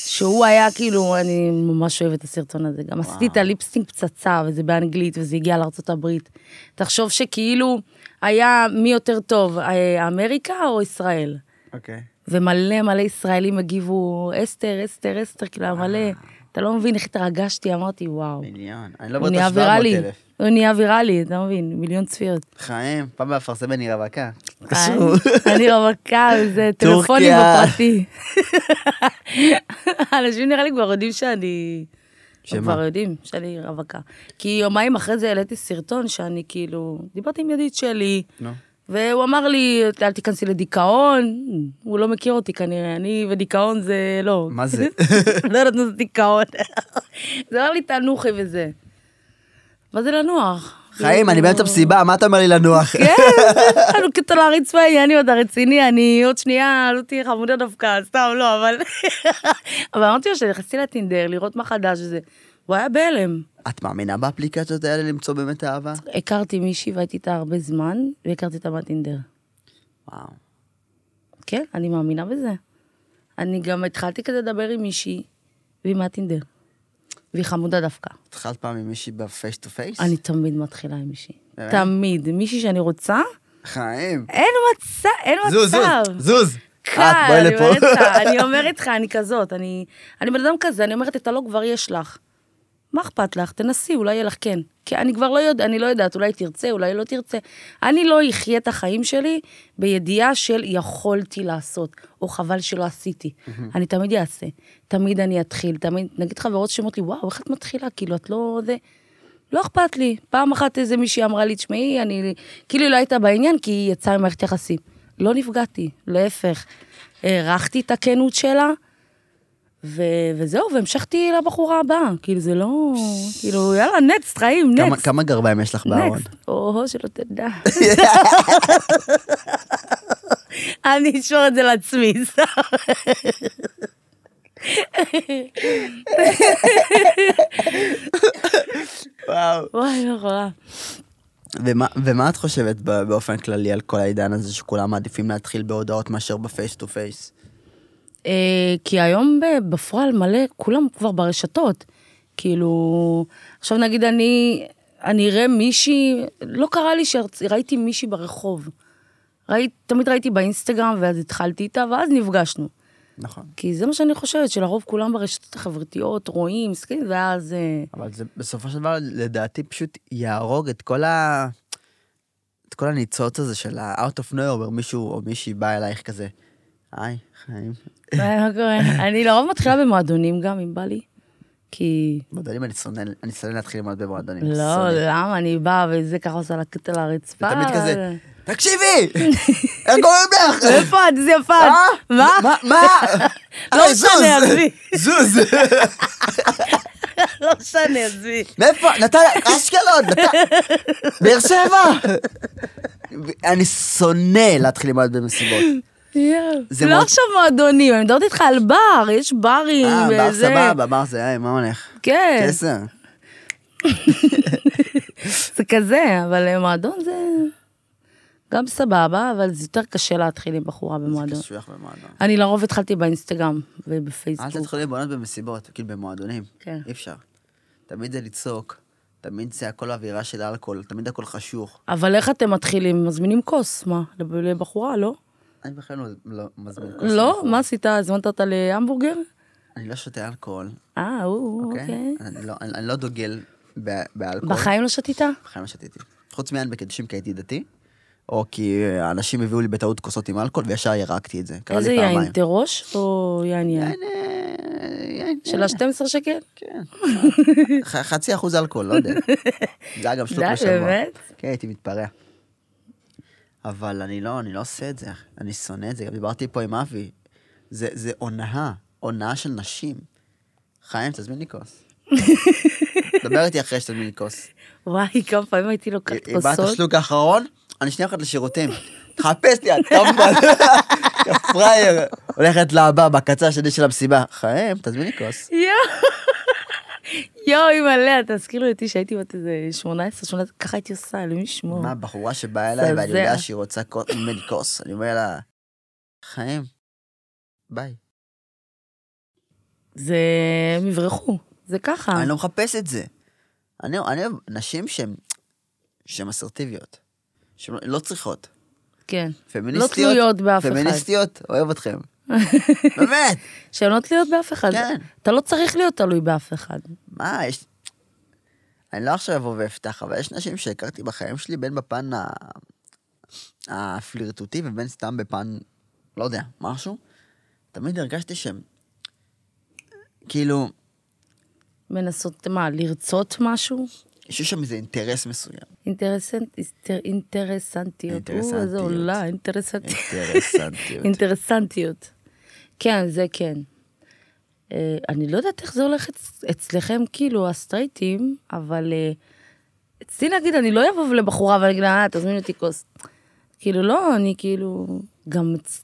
S2: שהוא היה כאילו, אני ממש אוהבת את הסרטון הזה. גם עשיתי את הליפסטינג פצצה, וזה באנגלית, וזה הגיע לארצות הברית. תחשוב שכאילו היה מי יותר טוב, אה, אמריקה או ישראל?
S1: אוקיי.
S2: ומלא מלא ישראלים הגיבו, אסתר, אסתר, אסתר, כאילו, היה מלא. אתה לא מבין איך התרגשתי, אמרתי, וואו.
S1: מיליון. אה. אני לא
S2: הוא
S1: בטוח
S2: נהיה
S1: 700
S2: ויראלי,
S1: אלף.
S2: הוא נהיה ויראלי, אתה לא מבין? מיליון צפיות.
S1: חיים, פעם באפרסמת אני רווקה.
S2: אה, אני- אני רווקה, זה טלפונים
S1: טורקיה.
S2: בפרטי. אנשים נראה לי כבר יודעים שאני...
S1: שמה?
S2: שמה? כבר יודעים שאני רווקה. כי יומיים אחרי זה העליתי סרטון שאני כאילו, דיברתי עם ידיד שלי,
S1: נו.
S2: והוא אמר לי, אל תיכנסי לדיכאון, הוא לא מכיר אותי כנראה, אני ודיכאון זה לא.
S1: מה זה?
S2: לא יודעת מה זה דיכאון. זה אמר לי תנוחי וזה. מה זה לנוח?
S1: חיים, אני
S2: כאילו-
S1: באמצע מסיבה, מה אתה אומר לי לנוח?
S2: כן, אני כאילו להריץ מהי, אני עוד הרציני, אני עוד שנייה, לא תהיה חמודה דווקא, סתם לא, אבל... אבל אמרתי לו שנכנסתי לטינדר, לראות מה חדש וזה. הוא היה בהלם.
S1: את מאמינה באפליקציות האלה למצוא באמת אהבה?
S2: הכרתי מישהי והייתי איתה הרבה זמן, והכרתי אותה בטינדר.
S1: וואו.
S2: כן, אני מאמינה בזה. אני גם התחלתי כזה לדבר עם מישהי, והיא מהטינדר. והיא חמודה דווקא.
S1: התחלת פעם עם מישהי בפייס טו פייס?
S2: אני תמיד מתחילה עם מישהי.
S1: באמת?
S2: תמיד. מישהי שאני רוצה,
S1: חיים.
S2: אין מצב, אין מצב.
S1: זוז, זוז, זוז.
S2: קל,
S1: את, בואי
S2: אני אומרת
S1: לפה.
S2: לך, אני אומרת לך, אני כזאת, אני, אני בן אדם כזה, אני אומרת, את הלא כבר יש לך. מה אכפת לך? תנסי, אולי יהיה לך כן. כי אני כבר לא יודעת, אני לא יודעת, אולי תרצה, אולי לא תרצה. אני לא אחיה את החיים שלי בידיעה של יכולתי לעשות, או חבל שלא עשיתי. אני תמיד אעשה, תמיד אני אתחיל, תמיד, נגיד חברות שאומרות לי, וואו, איך את מתחילה? כאילו, את לא... זה... לא אכפת לי. פעם אחת איזה מישהי אמרה לי, תשמעי, אני... כאילו היא לא הייתה בעניין, כי היא יצאה ממערכת יחסים. לא נפגעתי, להפך. הערכתי את הכנות שלה, ו... וזהו, והמשכתי לבחורה הבאה. כאילו, זה לא... כאילו, יאללה, נקסט, חיים,
S1: כמה-
S2: נקסט.
S1: כמה גרביים יש לך בארון?
S2: נקסט. או, שלא תדע. אני אשמור את זה לעצמי, סתם.
S1: וואו.
S2: וואי, לא יכולה.
S1: ומה- ומה את חושבת ב- באופן כללי על כל העידן הזה שכולם מעדיפים להתחיל בהודעות מאשר בפייס טו פייס?
S2: אה, כי היום ב- בפועל מלא, כולם כבר ברשתות. כאילו, עכשיו נגיד אני, אני אראה מישהי, לא קרה לי שראיתי מישהי ברחוב. ראי, תמיד ראיתי באינסטגרם, ואז התחלתי איתה, ואז נפגשנו.
S1: נכון.
S2: כי זה מה שאני חושבת, שלרוב כולם ברשתות החברתיות רואים, מסכים, ואז... אה,
S1: אבל זה בסופו של דבר, לדעתי, פשוט יהרוג את כל ה... את כל הניצוץ הזה של ה-out of nowhere, מישהו או מישהי בא אלייך כזה, היי, חיים.
S2: מה קורה? אני לרוב מתחילה במועדונים גם, אם בא לי. כי...
S1: מועדונים, אני שונא, אני שונא להתחיל ללמוד במועדונים.
S2: לא,
S1: שונא.
S2: למה? אני באה וזה ככה עושה לקט על הרצפה.
S1: זה תמיד
S2: אבל-
S1: כזה, תקשיבי! איך קוראים לך?
S2: איפה את? איזה יפה
S1: אה?
S2: את. מה?
S1: מה? מה?
S2: לא
S1: היי,
S2: משנה,
S1: זוז!
S2: עזבי.
S1: זוז!
S2: לא משנה, עזבי.
S1: מאיפה? נתניה, אשקלון, נתניה, באר שבע. אני שונא להתחיל ללמוד במסיבות. זה
S2: לא
S1: מאוד-
S2: עכשיו מועדונים, אני מדברת איתך על בר, יש ברים
S1: אה, בר
S2: וזה.
S1: סבבה, בר זה, היי, מה הולך?
S2: כן,
S1: כסף.
S2: זה כזה, אבל אה, מועדון זה גם סבבה, אבל זה יותר קשה להתחיל עם בחורה במועדון.
S1: קשוח במועדון.
S2: אני לרוב התחלתי באינסטגרם
S1: אה, אל
S2: ובפייסבוק.
S1: תתחיל לבנות במסיבות, כאילו במועדונים.
S2: כן.
S1: אי אפשר. תמיד זה לצעוק, תמיד זה הכל אווירה של אלכוהול, תמיד הכל חשוך.
S2: אבל איך אתם מתחילים? מזמינים כוס, מה? לב- לבחורה, לא?
S1: אני בכלל לא- לא מזמין כוס.
S2: לא?
S1: לבחור.
S2: מה עשית? הזמנת אותה להמבורגר?
S1: אני לא שותה אלכוהול,
S2: אה, הוא,
S1: אוקיי?
S2: אוקיי.
S1: אני לא- אני אני לא דוגל ב- באלכוהול.
S2: בחיים לא שתיתה?
S1: בחיים לא שתיתי. חוץ מעין בקידושים כי הייתי דתי, או כי האנשים הביאו לי בטעות כוסות עם אלכוהול וישר ירקתי את זה. קרה
S2: איזה
S1: לי פעמיים.
S2: יין? תירוש או יין יין?
S1: יין, אה, יין,
S2: של ה-12 שקל?
S1: כן. ח- חצי אחוז אלכוהול, לא יודע. זה היה גם שלוק
S2: די,
S1: בשבוע.
S2: באמת?
S1: כן, הייתי מתפרע. אבל אני לא, אני לא עושה את זה. אני שונא את זה. גם דיברתי פה עם אבי. זה זה הונאה, הונאה של נשים. חיים, תזמין לי כוס. דבר איתי אחרי שתזמין לי כוס.
S2: וואי, כמה פעמים הייתי לוקחת
S1: היא באה את
S2: כוסות.
S1: השלוק האחרון, אני שנייה הולכת לשירותים. תחפש לי, את טמבל. יא פראייר. הולכת לבא בקצה השני של המסיבה. חיים, תזמין לי כוס.
S2: יואו, יואו, מלא, תזכיר לי אותי שהייתי בת איזה 18, 18, ככה הייתי עושה, אלוהים ישמור.
S1: מה, בחורה שבאה אליי ואני
S2: מזעזע.
S1: יודע שהיא רוצה כוס- ממני כוס, אני אומר לה, חיים, ביי.
S2: זה, הם יברחו, זה ככה.
S1: אני לא מחפש את זה. אני אני אוהב נשים שהן שהן אסרטיביות, שהן לא צריכות.
S2: כן.
S1: פמיניסטיות.
S2: תלויות באף אחד.
S1: פמיניסטיות, אוהב אתכם. באמת.
S2: שהן לא תלויות באף אחד.
S1: כן.
S2: אתה לא צריך להיות תלוי באף אחד.
S1: מה, יש... אני לא עכשיו אבוא ואפתח, אבל יש נשים שהכרתי בחיים שלי, בין בפן ה... הפלירטוטי ובין סתם בפן, לא יודע, משהו. תמיד הרגשתי שהם... כאילו,
S2: מנסות, מה, לרצות משהו?
S1: יש שם איזה אינטרס מסוים.
S2: אינטרסנט, אינטר- אינטרסנטיות. או, איזה
S1: אינטרסנטיות.
S2: עולה, אינטרסנטיות.
S1: אינטרסנטיות.
S2: אינטרסנטיות. כן, זה כן. אה, אני לא יודעת איך זה הולך אצ- אצלכם, כאילו, הסטרייטים, אבל אה, אצלי נגיד, אני לא אבוא לבחורה ואני אגיד לה, אה, תזמין אותי כוס. כאילו, לא, אני כאילו, גם אצ-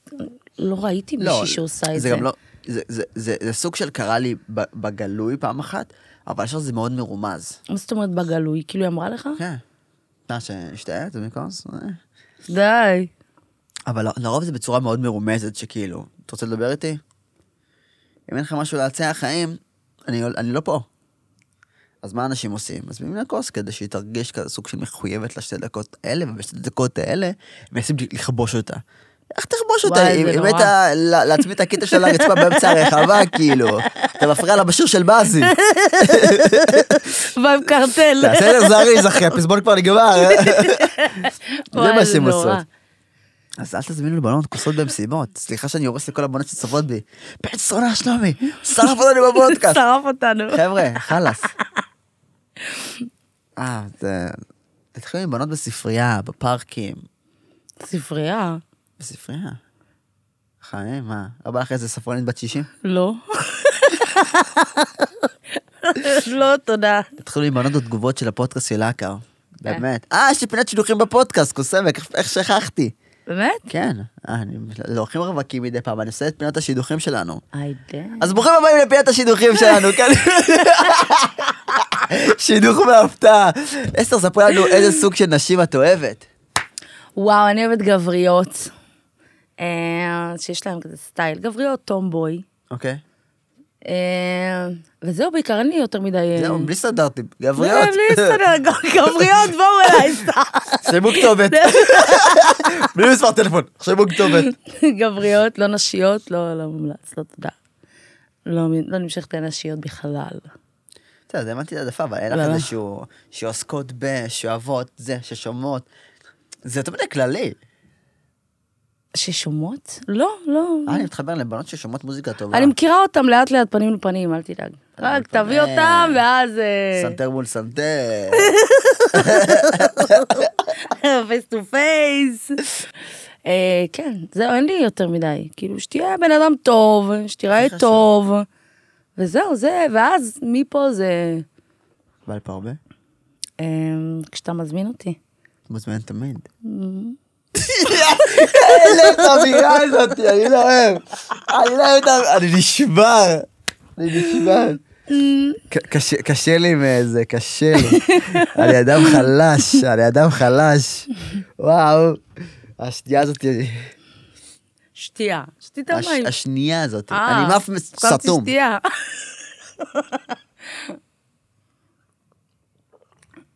S2: לא ראיתי מישהי שעושה את זה.
S1: זה גם לא... זה, זה, זה, זה סוג של קרה לי ב- בגלוי פעם אחת, אבל עכשיו זה מאוד מרומז.
S2: מה זאת אומרת בגלוי? כאילו, היא אמרה לך?
S1: כן. אתה שתהיה? אתה מכוס? כן.
S2: די.
S1: אבל לרוב זה בצורה מאוד מרומזת, שכאילו, אתה רוצה לדבר איתי? אם אין לך משהו להציע חיים, אני, אני לא פה. אז מה אנשים עושים? מזמינים לה כוס כדי שהיא תרגיש כזה סוג של מחויבת לשתי דקות האלה, ובשתי דקות האלה מנסים לכבוש אותה. איך תכבוש אותה?
S2: וואי,
S1: היא
S2: זה
S1: היא
S2: נורא.
S1: מתה לה- להצמיד את הקטע שלה לרצפה באמצע הרחבה, כאילו. אתה מפריע לה בשיר של באזי.
S2: מה עם קרטל?
S1: תעשה את זה זריז, אחי, הפזמון כבר נגמר. זה
S2: וואי,
S1: מה
S2: זה
S1: שהן
S2: נורא.
S1: עושות. אז אל תזמינו לבנות כוסות במסיבות. סליחה שאני הורס לכל הבנות שצופות בי. בן זונה שלומי, שרף אותנו בפודקאסט.
S2: שרף אותנו.
S1: חבר'ה, חלאס. אה, זה... תתחילו עם בנות בספרייה, בפארקים.
S2: ספרייה?
S1: בספרייה. חיים, מה? לא בא לך איזה ספרנית בת 60?
S2: לא. לא, תודה.
S1: תתחילו עם בנות התגובות של הפודקאסט של האקר. באמת. אה, יש לי פינת שידוכים בפודקאסט, קוסמק, איך- איך שכחתי.
S2: באמת?
S1: כן, אה, אני לוקחים רווקים מדי פעם, אני עושה את פינות השידוכים שלנו.
S2: היי דיין.
S1: אז ברוכים הבאים לפינת השידוכים שלנו, כן? שידוך בהפתעה. אסתר, ספרי לנו איזה סוג של נשים את אוהבת.
S2: וואו, אני אוהבת גבריות. אה, שיש להם כזה סטייל. גבריות טומבוי.
S1: אוקיי.
S2: אה, וזהו, בעיקר אין לי יותר מדי... אה,
S1: זהו, בלי סטנדרטים,
S2: אה,
S1: גבריות.
S2: בלי להסתדר, גבריות, בואו אליי, סתם.
S1: שימו כתובת.
S2: לא.
S1: בלי מספר טלפון, שימו כתובת.
S2: גבריות, לא נשיות, לא לא מומלץ, לא תודה. לא לא נמשכת לנשיות בכלל.
S1: אתה יודע, האמנתי להעדפה, אבל אין לך
S2: לא, לא.
S1: איזשהו... שעוסקות ב, שאוהבות, זה, ששומעות. זה יותר מדי כללי.
S2: Mm. ששומעות? לא, לא.
S1: אה, אני מתחבר לבנות ששומעות מוזיקה טובה.
S2: אני מכירה אותם לאט לאט פנים לפנים, אל תדאג. רק תביא אותם, ואז... אה,
S1: סנטר מול סנטר.
S2: פייס טו פייס. אה, כן, זהו, אין לי יותר מדי. כאילו, שתהיה בן אדם טוב, שתיראה
S1: חשוב.
S2: טוב, וזהו, זה, ואז מפה זה...
S1: בא לפה הרבה?
S2: אה, כשאתה מזמין אותי.
S1: מוזמן תמיד. אין לך אמירה הזאת, אני לא אוהב. אני לא אוהב את ה... אני נשבר. אני נשבר. ק- קשה- קשה לי מאיזה, קשה לי. אני אדם חלש, אני אדם חלש. וואו. השנייה הזאת,
S2: שתייה, שתית
S1: הש-
S2: מים.
S1: השנייה הזאת,
S2: אה,
S1: אני מאף
S2: חשבתי
S1: סתום.
S2: שתייה.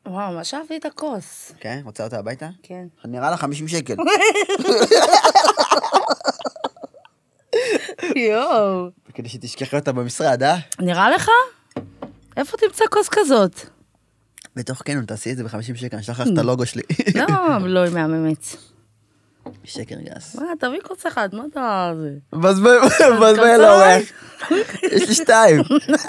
S2: וואו, ממש אהבתי את הכוס.
S1: כן, רוצה אותה הביתה?
S2: כן.
S1: נראה לה 50 שקל.
S2: יואו.
S1: כדי שתשכחי אותה במשרד, אה?
S2: נראה לך? איפה תמצא כוס כזאת?
S1: בתוך כן, תעשי את זה ב-50 שקל, אני אשלח לך את הלוגו שלי.
S2: לא, לא, היא מהממת.
S1: שקר גס.
S2: מה, תביא כוס אחת, מה אתה... זה?
S1: בזמן לאורח. לא יש לי שתיים.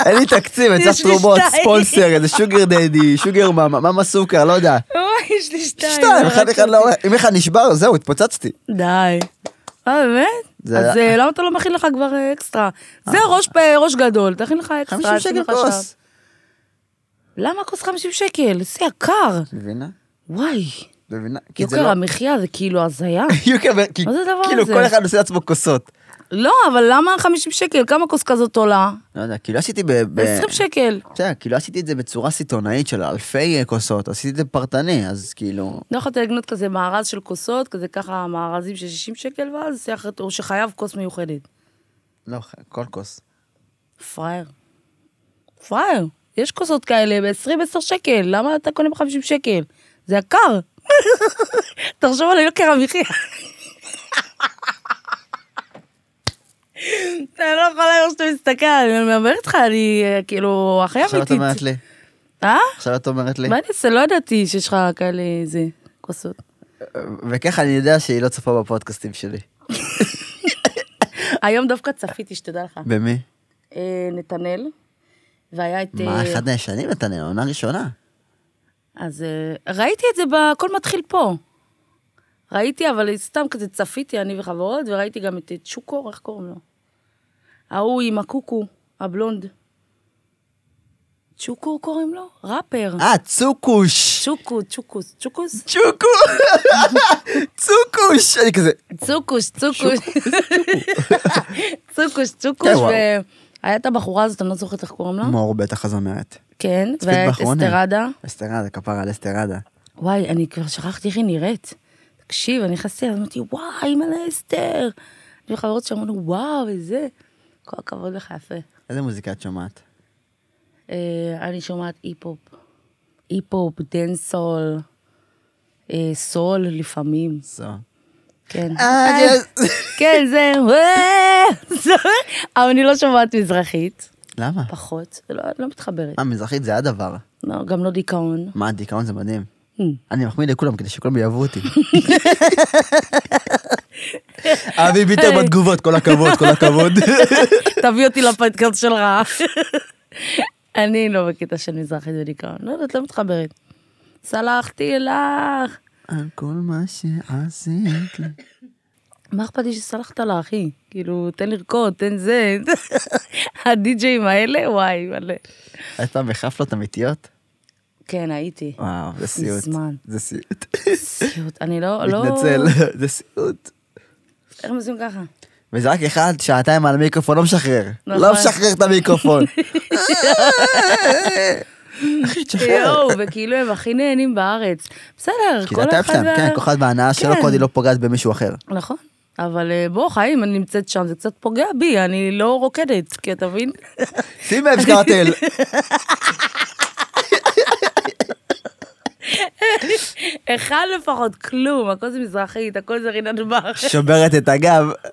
S1: אין לי תקציב, אני צריך
S2: יש לי
S1: תרומות,
S2: שתיים.
S1: ספונסר, איזה שוגר דדי, שוגר מאמה, מאמה סוכר, לא יודע.
S2: וואי, יש לי שתיים. לא
S1: שתיים, אחד לא. אחד לאורח. אם אחד נשבר, זהו, התפוצצתי.
S2: די. אה, באמת?
S1: זה-
S2: אז אה, למה אתה לא מכין לך כבר אה, אקסטרה? זה ראש פ- ראש גדול, תכין לך אקסטרה.
S1: 50
S2: שים
S1: שקל
S2: לך שם.
S1: כוס.
S2: למה כוס 50 שקל? זה יקר.
S1: מבינה?
S2: וואי.
S1: מבינה? כי זה
S2: יוקר
S1: לא...
S2: המחיה זה כאילו הזיה.
S1: יוקר, כי-
S2: מה זה הדבר
S1: כאילו
S2: הזה?
S1: כל אחד עושה לעצמו כוסות.
S2: לא, אבל למה 50 שקל? כמה כוס כזאת עולה?
S1: לא יודע, כאילו עשיתי ב... ב-
S2: 20 שקל.
S1: בסדר, כאילו עשיתי את זה בצורה סיטונאית של אלפי אה, כוסות, עשיתי את זה פרטני, אז כאילו...
S2: לא יכולת לקנות כזה מארז של כוסות, כזה ככה מארזים של 60 שקל, ואז שיח- או שחייב כוס מיוחדת.
S1: לא, כל כוס.
S2: פראייר. פראייר. יש כוסות כאלה ב-20-10 שקל, למה אתה קונה ב-50 שקל? זה יקר. תחשוב על יוקר המחיה. אתה לא יכול לראות שאתה מסתכל, אני מדברת איתך, אני אה, כאילו הכי
S1: עכשיו את
S2: אמיתית.
S1: אומרת לי,
S2: אה?
S1: עכשיו את אומרת לי.
S2: מה אני אעשה? לא ידעתי שיש לך כאלה זה, כוסות.
S1: וככה אני יודע שהיא לא צופה בפודקאסטים שלי.
S2: היום דווקא צפיתי, שתדע לך.
S1: במי?
S2: אה, נתנאל, והיה את...
S1: מה,
S2: אה,
S1: אחד הישנים נתנאל, עונה ראשונה.
S2: אז אה, ראיתי את זה ב"הכל מתחיל פה". ראיתי, אבל סתם כזה צפיתי, אני וחברות, וראיתי גם את אה, צ'וקור, איך קוראים לו? ההוא עם הקוקו, הבלונד. צ'וקו קוראים לו? ראפר.
S1: אה, צוקוש!
S2: צ'וקו, צ'וקוס, צ'וקוס?
S1: צ'וקו! צוקוש! אני כזה,
S2: צוקוש, צוקוש. צוקוש, צוקוש,
S1: כן, וואו.
S2: והיה את הבחורה הזאת, אני לא זוכרת איך קוראים לה.
S1: מור בטח הזמרת.
S2: כן,
S1: צפית
S2: והיה את
S1: באחרונה.
S2: אסתרדה.
S1: אסתרדה, כפרה על אסתרדה.
S2: וואי, אני כבר שכחתי איך היא נראית. תקשיב, אני נכנסתי, אז אמרתי, וואי, אימא'לה אסתר. יש לי חברות שאמרנו, וואו, וזה. כל הכבוד לך, יפה.
S1: איזה מוזיקה את שומעת?
S2: אה, אני שומעת אי-פופ. אי-פופ, דנסול, אה, סול לפעמים,
S1: זו.
S2: כן.
S1: אה, yes.
S2: כן, זה... וואו, זה- אבל אני לא שומעת מזרחית,
S1: למה?
S2: פחות. לא, לא מתחברת.
S1: מה, מזרחית זה הדבר.
S2: לא, גם לא דיכאון.
S1: מה, דיכאון זה מדהים.
S2: Hmm.
S1: אני מחמיא לכולם כדי שכולם יאהבו אותי. אבי ביטר בתגובות, כל הכבוד, כל הכבוד.
S2: תביא אותי לפודקאסט שלך. אני לא בקטע של מזרחית ודיכאון, לא יודעת, לא מתחברת. סלחתי לך.
S1: על כל מה שעשית לי.
S2: מה אכפת לי שסלחת לה, אחי? כאילו, תן לרקוד, תן זה. הדי-ג'אים האלה, וואי, מלא.
S1: היית פעם בחפלות אמיתיות?
S2: כן, הייתי.
S1: וואו, זה סיוט.
S2: מזמן.
S1: זה סיוט.
S2: סיוט, אני לא... לא-
S1: מתנצל, זה סיוט.
S2: איך הם עושים ככה?
S1: וזה רק אחד, שעתיים על המיקרופון, לא משחרר.
S2: נכון.
S1: לא משחרר את המיקרופון. אחי, תשחרר.
S2: יואו, וכאילו הם הכי נהנים בארץ. בסדר,
S1: כי
S2: כל
S1: זה
S2: אחד...
S1: הטייפ שלהם,
S2: וה-
S1: כן, כוכב בהנאה שלו,
S2: כן.
S1: כל עוד היא לא פוגעת במישהו אחר.
S2: נכון. אבל אה, בוא, חיים, אני נמצאת שם, זה קצת פוגע בי, אני לא רוקדת, כי אתה מבין?
S1: שים לב, סקרטל.
S2: אחד לפחות, כלום, הכל זה מזרחית, הכל זה רינת בר.
S1: שוברת את הגב.
S2: אה.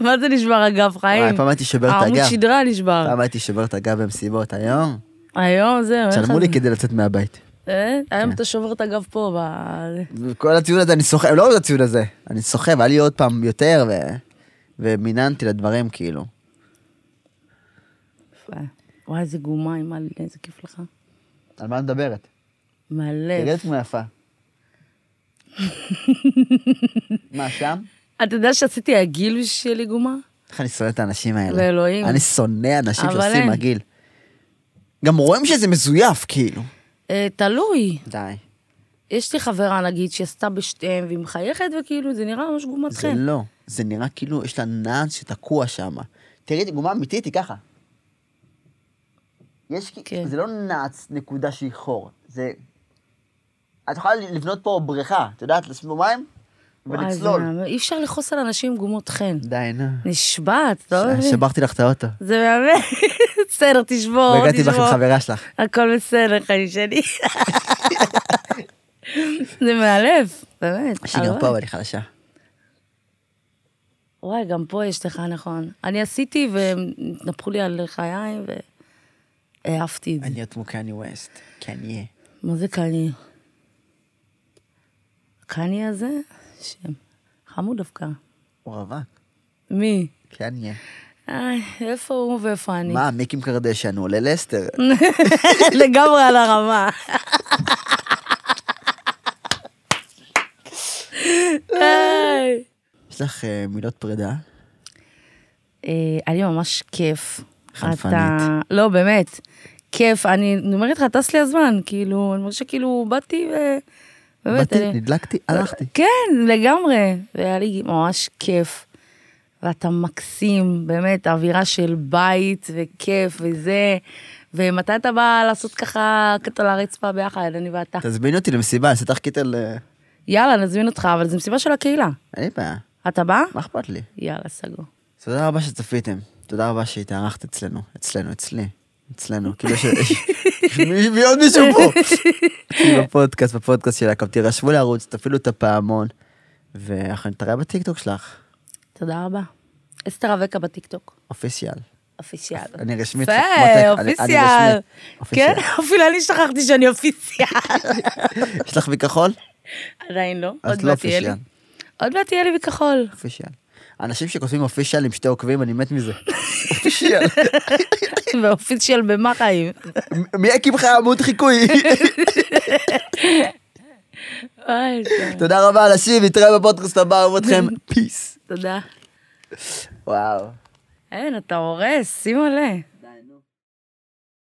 S2: מה זה נשבר הגב, חיים?
S1: וואי, פעם הייתי שובר את
S2: העמוד
S1: הגב.
S2: שדרה נשבר.
S1: פעם הייתי שובר את הגב במסיבות, היום?
S2: היום זהו, אין לך...
S1: צלמו לי כן. כדי לצאת מהבית.
S2: אה? היום אתה שובר את הגב פה, ב-
S1: כל הציון הזה, אני סוחב, לא רק הציון הזה, אני סוחב, היה לי עוד פעם יותר, ו... ומיננתי לדברים, כאילו.
S2: יפה. וואי, איזה גומה, אימא'לה, איזה כיף לך.
S1: על מה את מדברת?
S2: מלא.
S1: תגידי תמונה יפה. מה, שם?
S2: אתה יודע שעשיתי עגיל בשביל שיהיה לי גומה?
S1: איך אני שונא את האנשים האלה.
S2: לאלוהים.
S1: אני שונא אנשים
S2: אבל
S1: שעושים
S2: אין.
S1: מגעיל. גם רואים שזה מזויף, כאילו.
S2: אה, תלוי.
S1: די.
S2: יש לי חברה, נגיד, שעשתה בשתיהם, והיא מחייכת, וכאילו, זה נראה ממש גומת
S1: זה
S2: חן.
S1: לא. זה נראה כאילו יש לה נעץ שתקוע שם. תראי, דוגמה אמיתית היא ככה. יש, כי-
S2: כן.
S1: זה לא נעץ נקודה שהיא חור, זה... את יכולה לבנות פה בריכה, את יודעת, לשים בו מים
S2: וואי, זה
S1: ולצלול.
S2: מהמם. אי אפשר לכעוס על אנשים גומות חן.
S1: די, נו.
S2: נשבעת, אתה לא
S1: ש-
S2: מבין?
S1: שברתי לך את האוטו.
S2: זה מהמם. בסדר, תשבור,
S1: והגעתי בך עם
S2: תשבור.
S1: חברה שלך.
S2: הכל בסדר, חיים שלי. זה מאלף, באמת.
S1: שהיא גם
S2: הלוואי.
S1: פה, אבל היא חלשה.
S2: וואי, גם פה יש לך, נכון. אני עשיתי, והם התנפחו לי על חיי, והעפתי את זה.
S1: אני עוד כמו קני ווסט. קניה.
S2: מה זה קני? קני הזה? שם. חמוד דווקא.
S1: הוא רווק.
S2: מי?
S1: קניה.
S2: איי, איפה הוא ואיפה אני?
S1: מה, מיקים קרדשן, הוא עולה לסטר.
S2: לגמרי על הרמה. היי.
S1: יש לך אה, מילות פרידה?
S2: אה, היה לי ממש כיף.
S1: חנפנית.
S2: אתה... לא, באמת. כיף. אני אני אומרת לך, טס לי הזמן. כאילו, אני מרגישה כאילו, באתי ו... באמת,
S1: באתי,
S2: אני-
S1: נדלקתי, הלכתי.
S2: כן, לגמרי. והיה לי ממש כיף. ואתה מקסים, באמת, אווירה של בית וכיף וזה. ומתי אתה בא לעשות ככה קטע לרצפה ביחד, אני ואתה?
S1: תזמיני אותי למסיבה, אני אעשה לך קיטל... אה,
S2: יאללה, נזמין אותך, אבל זו מסיבה של הקהילה.
S1: אין לי בעיה,
S2: אתה בא?
S1: מה אכפת לי?
S2: יאללה, סגור.
S1: תודה רבה שצפיתם, תודה רבה שהתארחת אצלנו, אצלנו, אצלי, אצלנו, כאילו ש... יש מי- מי עוד מישהו פה? אצלי בפודקאסט, בפודקאסט של הקו, תירשמו לערוץ, תפעילו את הפעמון, ואנחנו נתראה בטיקטוק שלך,
S2: תודה רבה. אסתר אבקה בטיקטוק.
S1: אופיסיאל.
S2: אופיסיאל.
S1: אני רשמית,
S2: יפה,
S1: כמו טק, אני- אני
S2: אופיסיאל.
S1: רשמית, אופיסיאל.
S2: כן, אפילו אני שכחתי שאני אופיסיאל.
S1: יש לך מכחול?
S2: עדיין לא,
S1: אז
S2: עוד
S1: לא
S2: מעט יהיה לי.
S1: אופיסיאל.
S2: עוד מעט יהיה לי בכחול.
S1: אופישיאל. אנשים שכותבים אופישיאל עם שתי עוקבים, אני מת מזה. אופישיאל.
S2: ואופיסיאל במה חיים?
S1: מ- מי הקים לך עמוד חיקוי?
S2: אוי, זה-
S1: תודה רבה אנשים, נתראה בפודקאסט הבא, אוהב אתכם, פיס.
S2: תודה.
S1: וואו.
S2: אין, אתה הורס, שים מלא.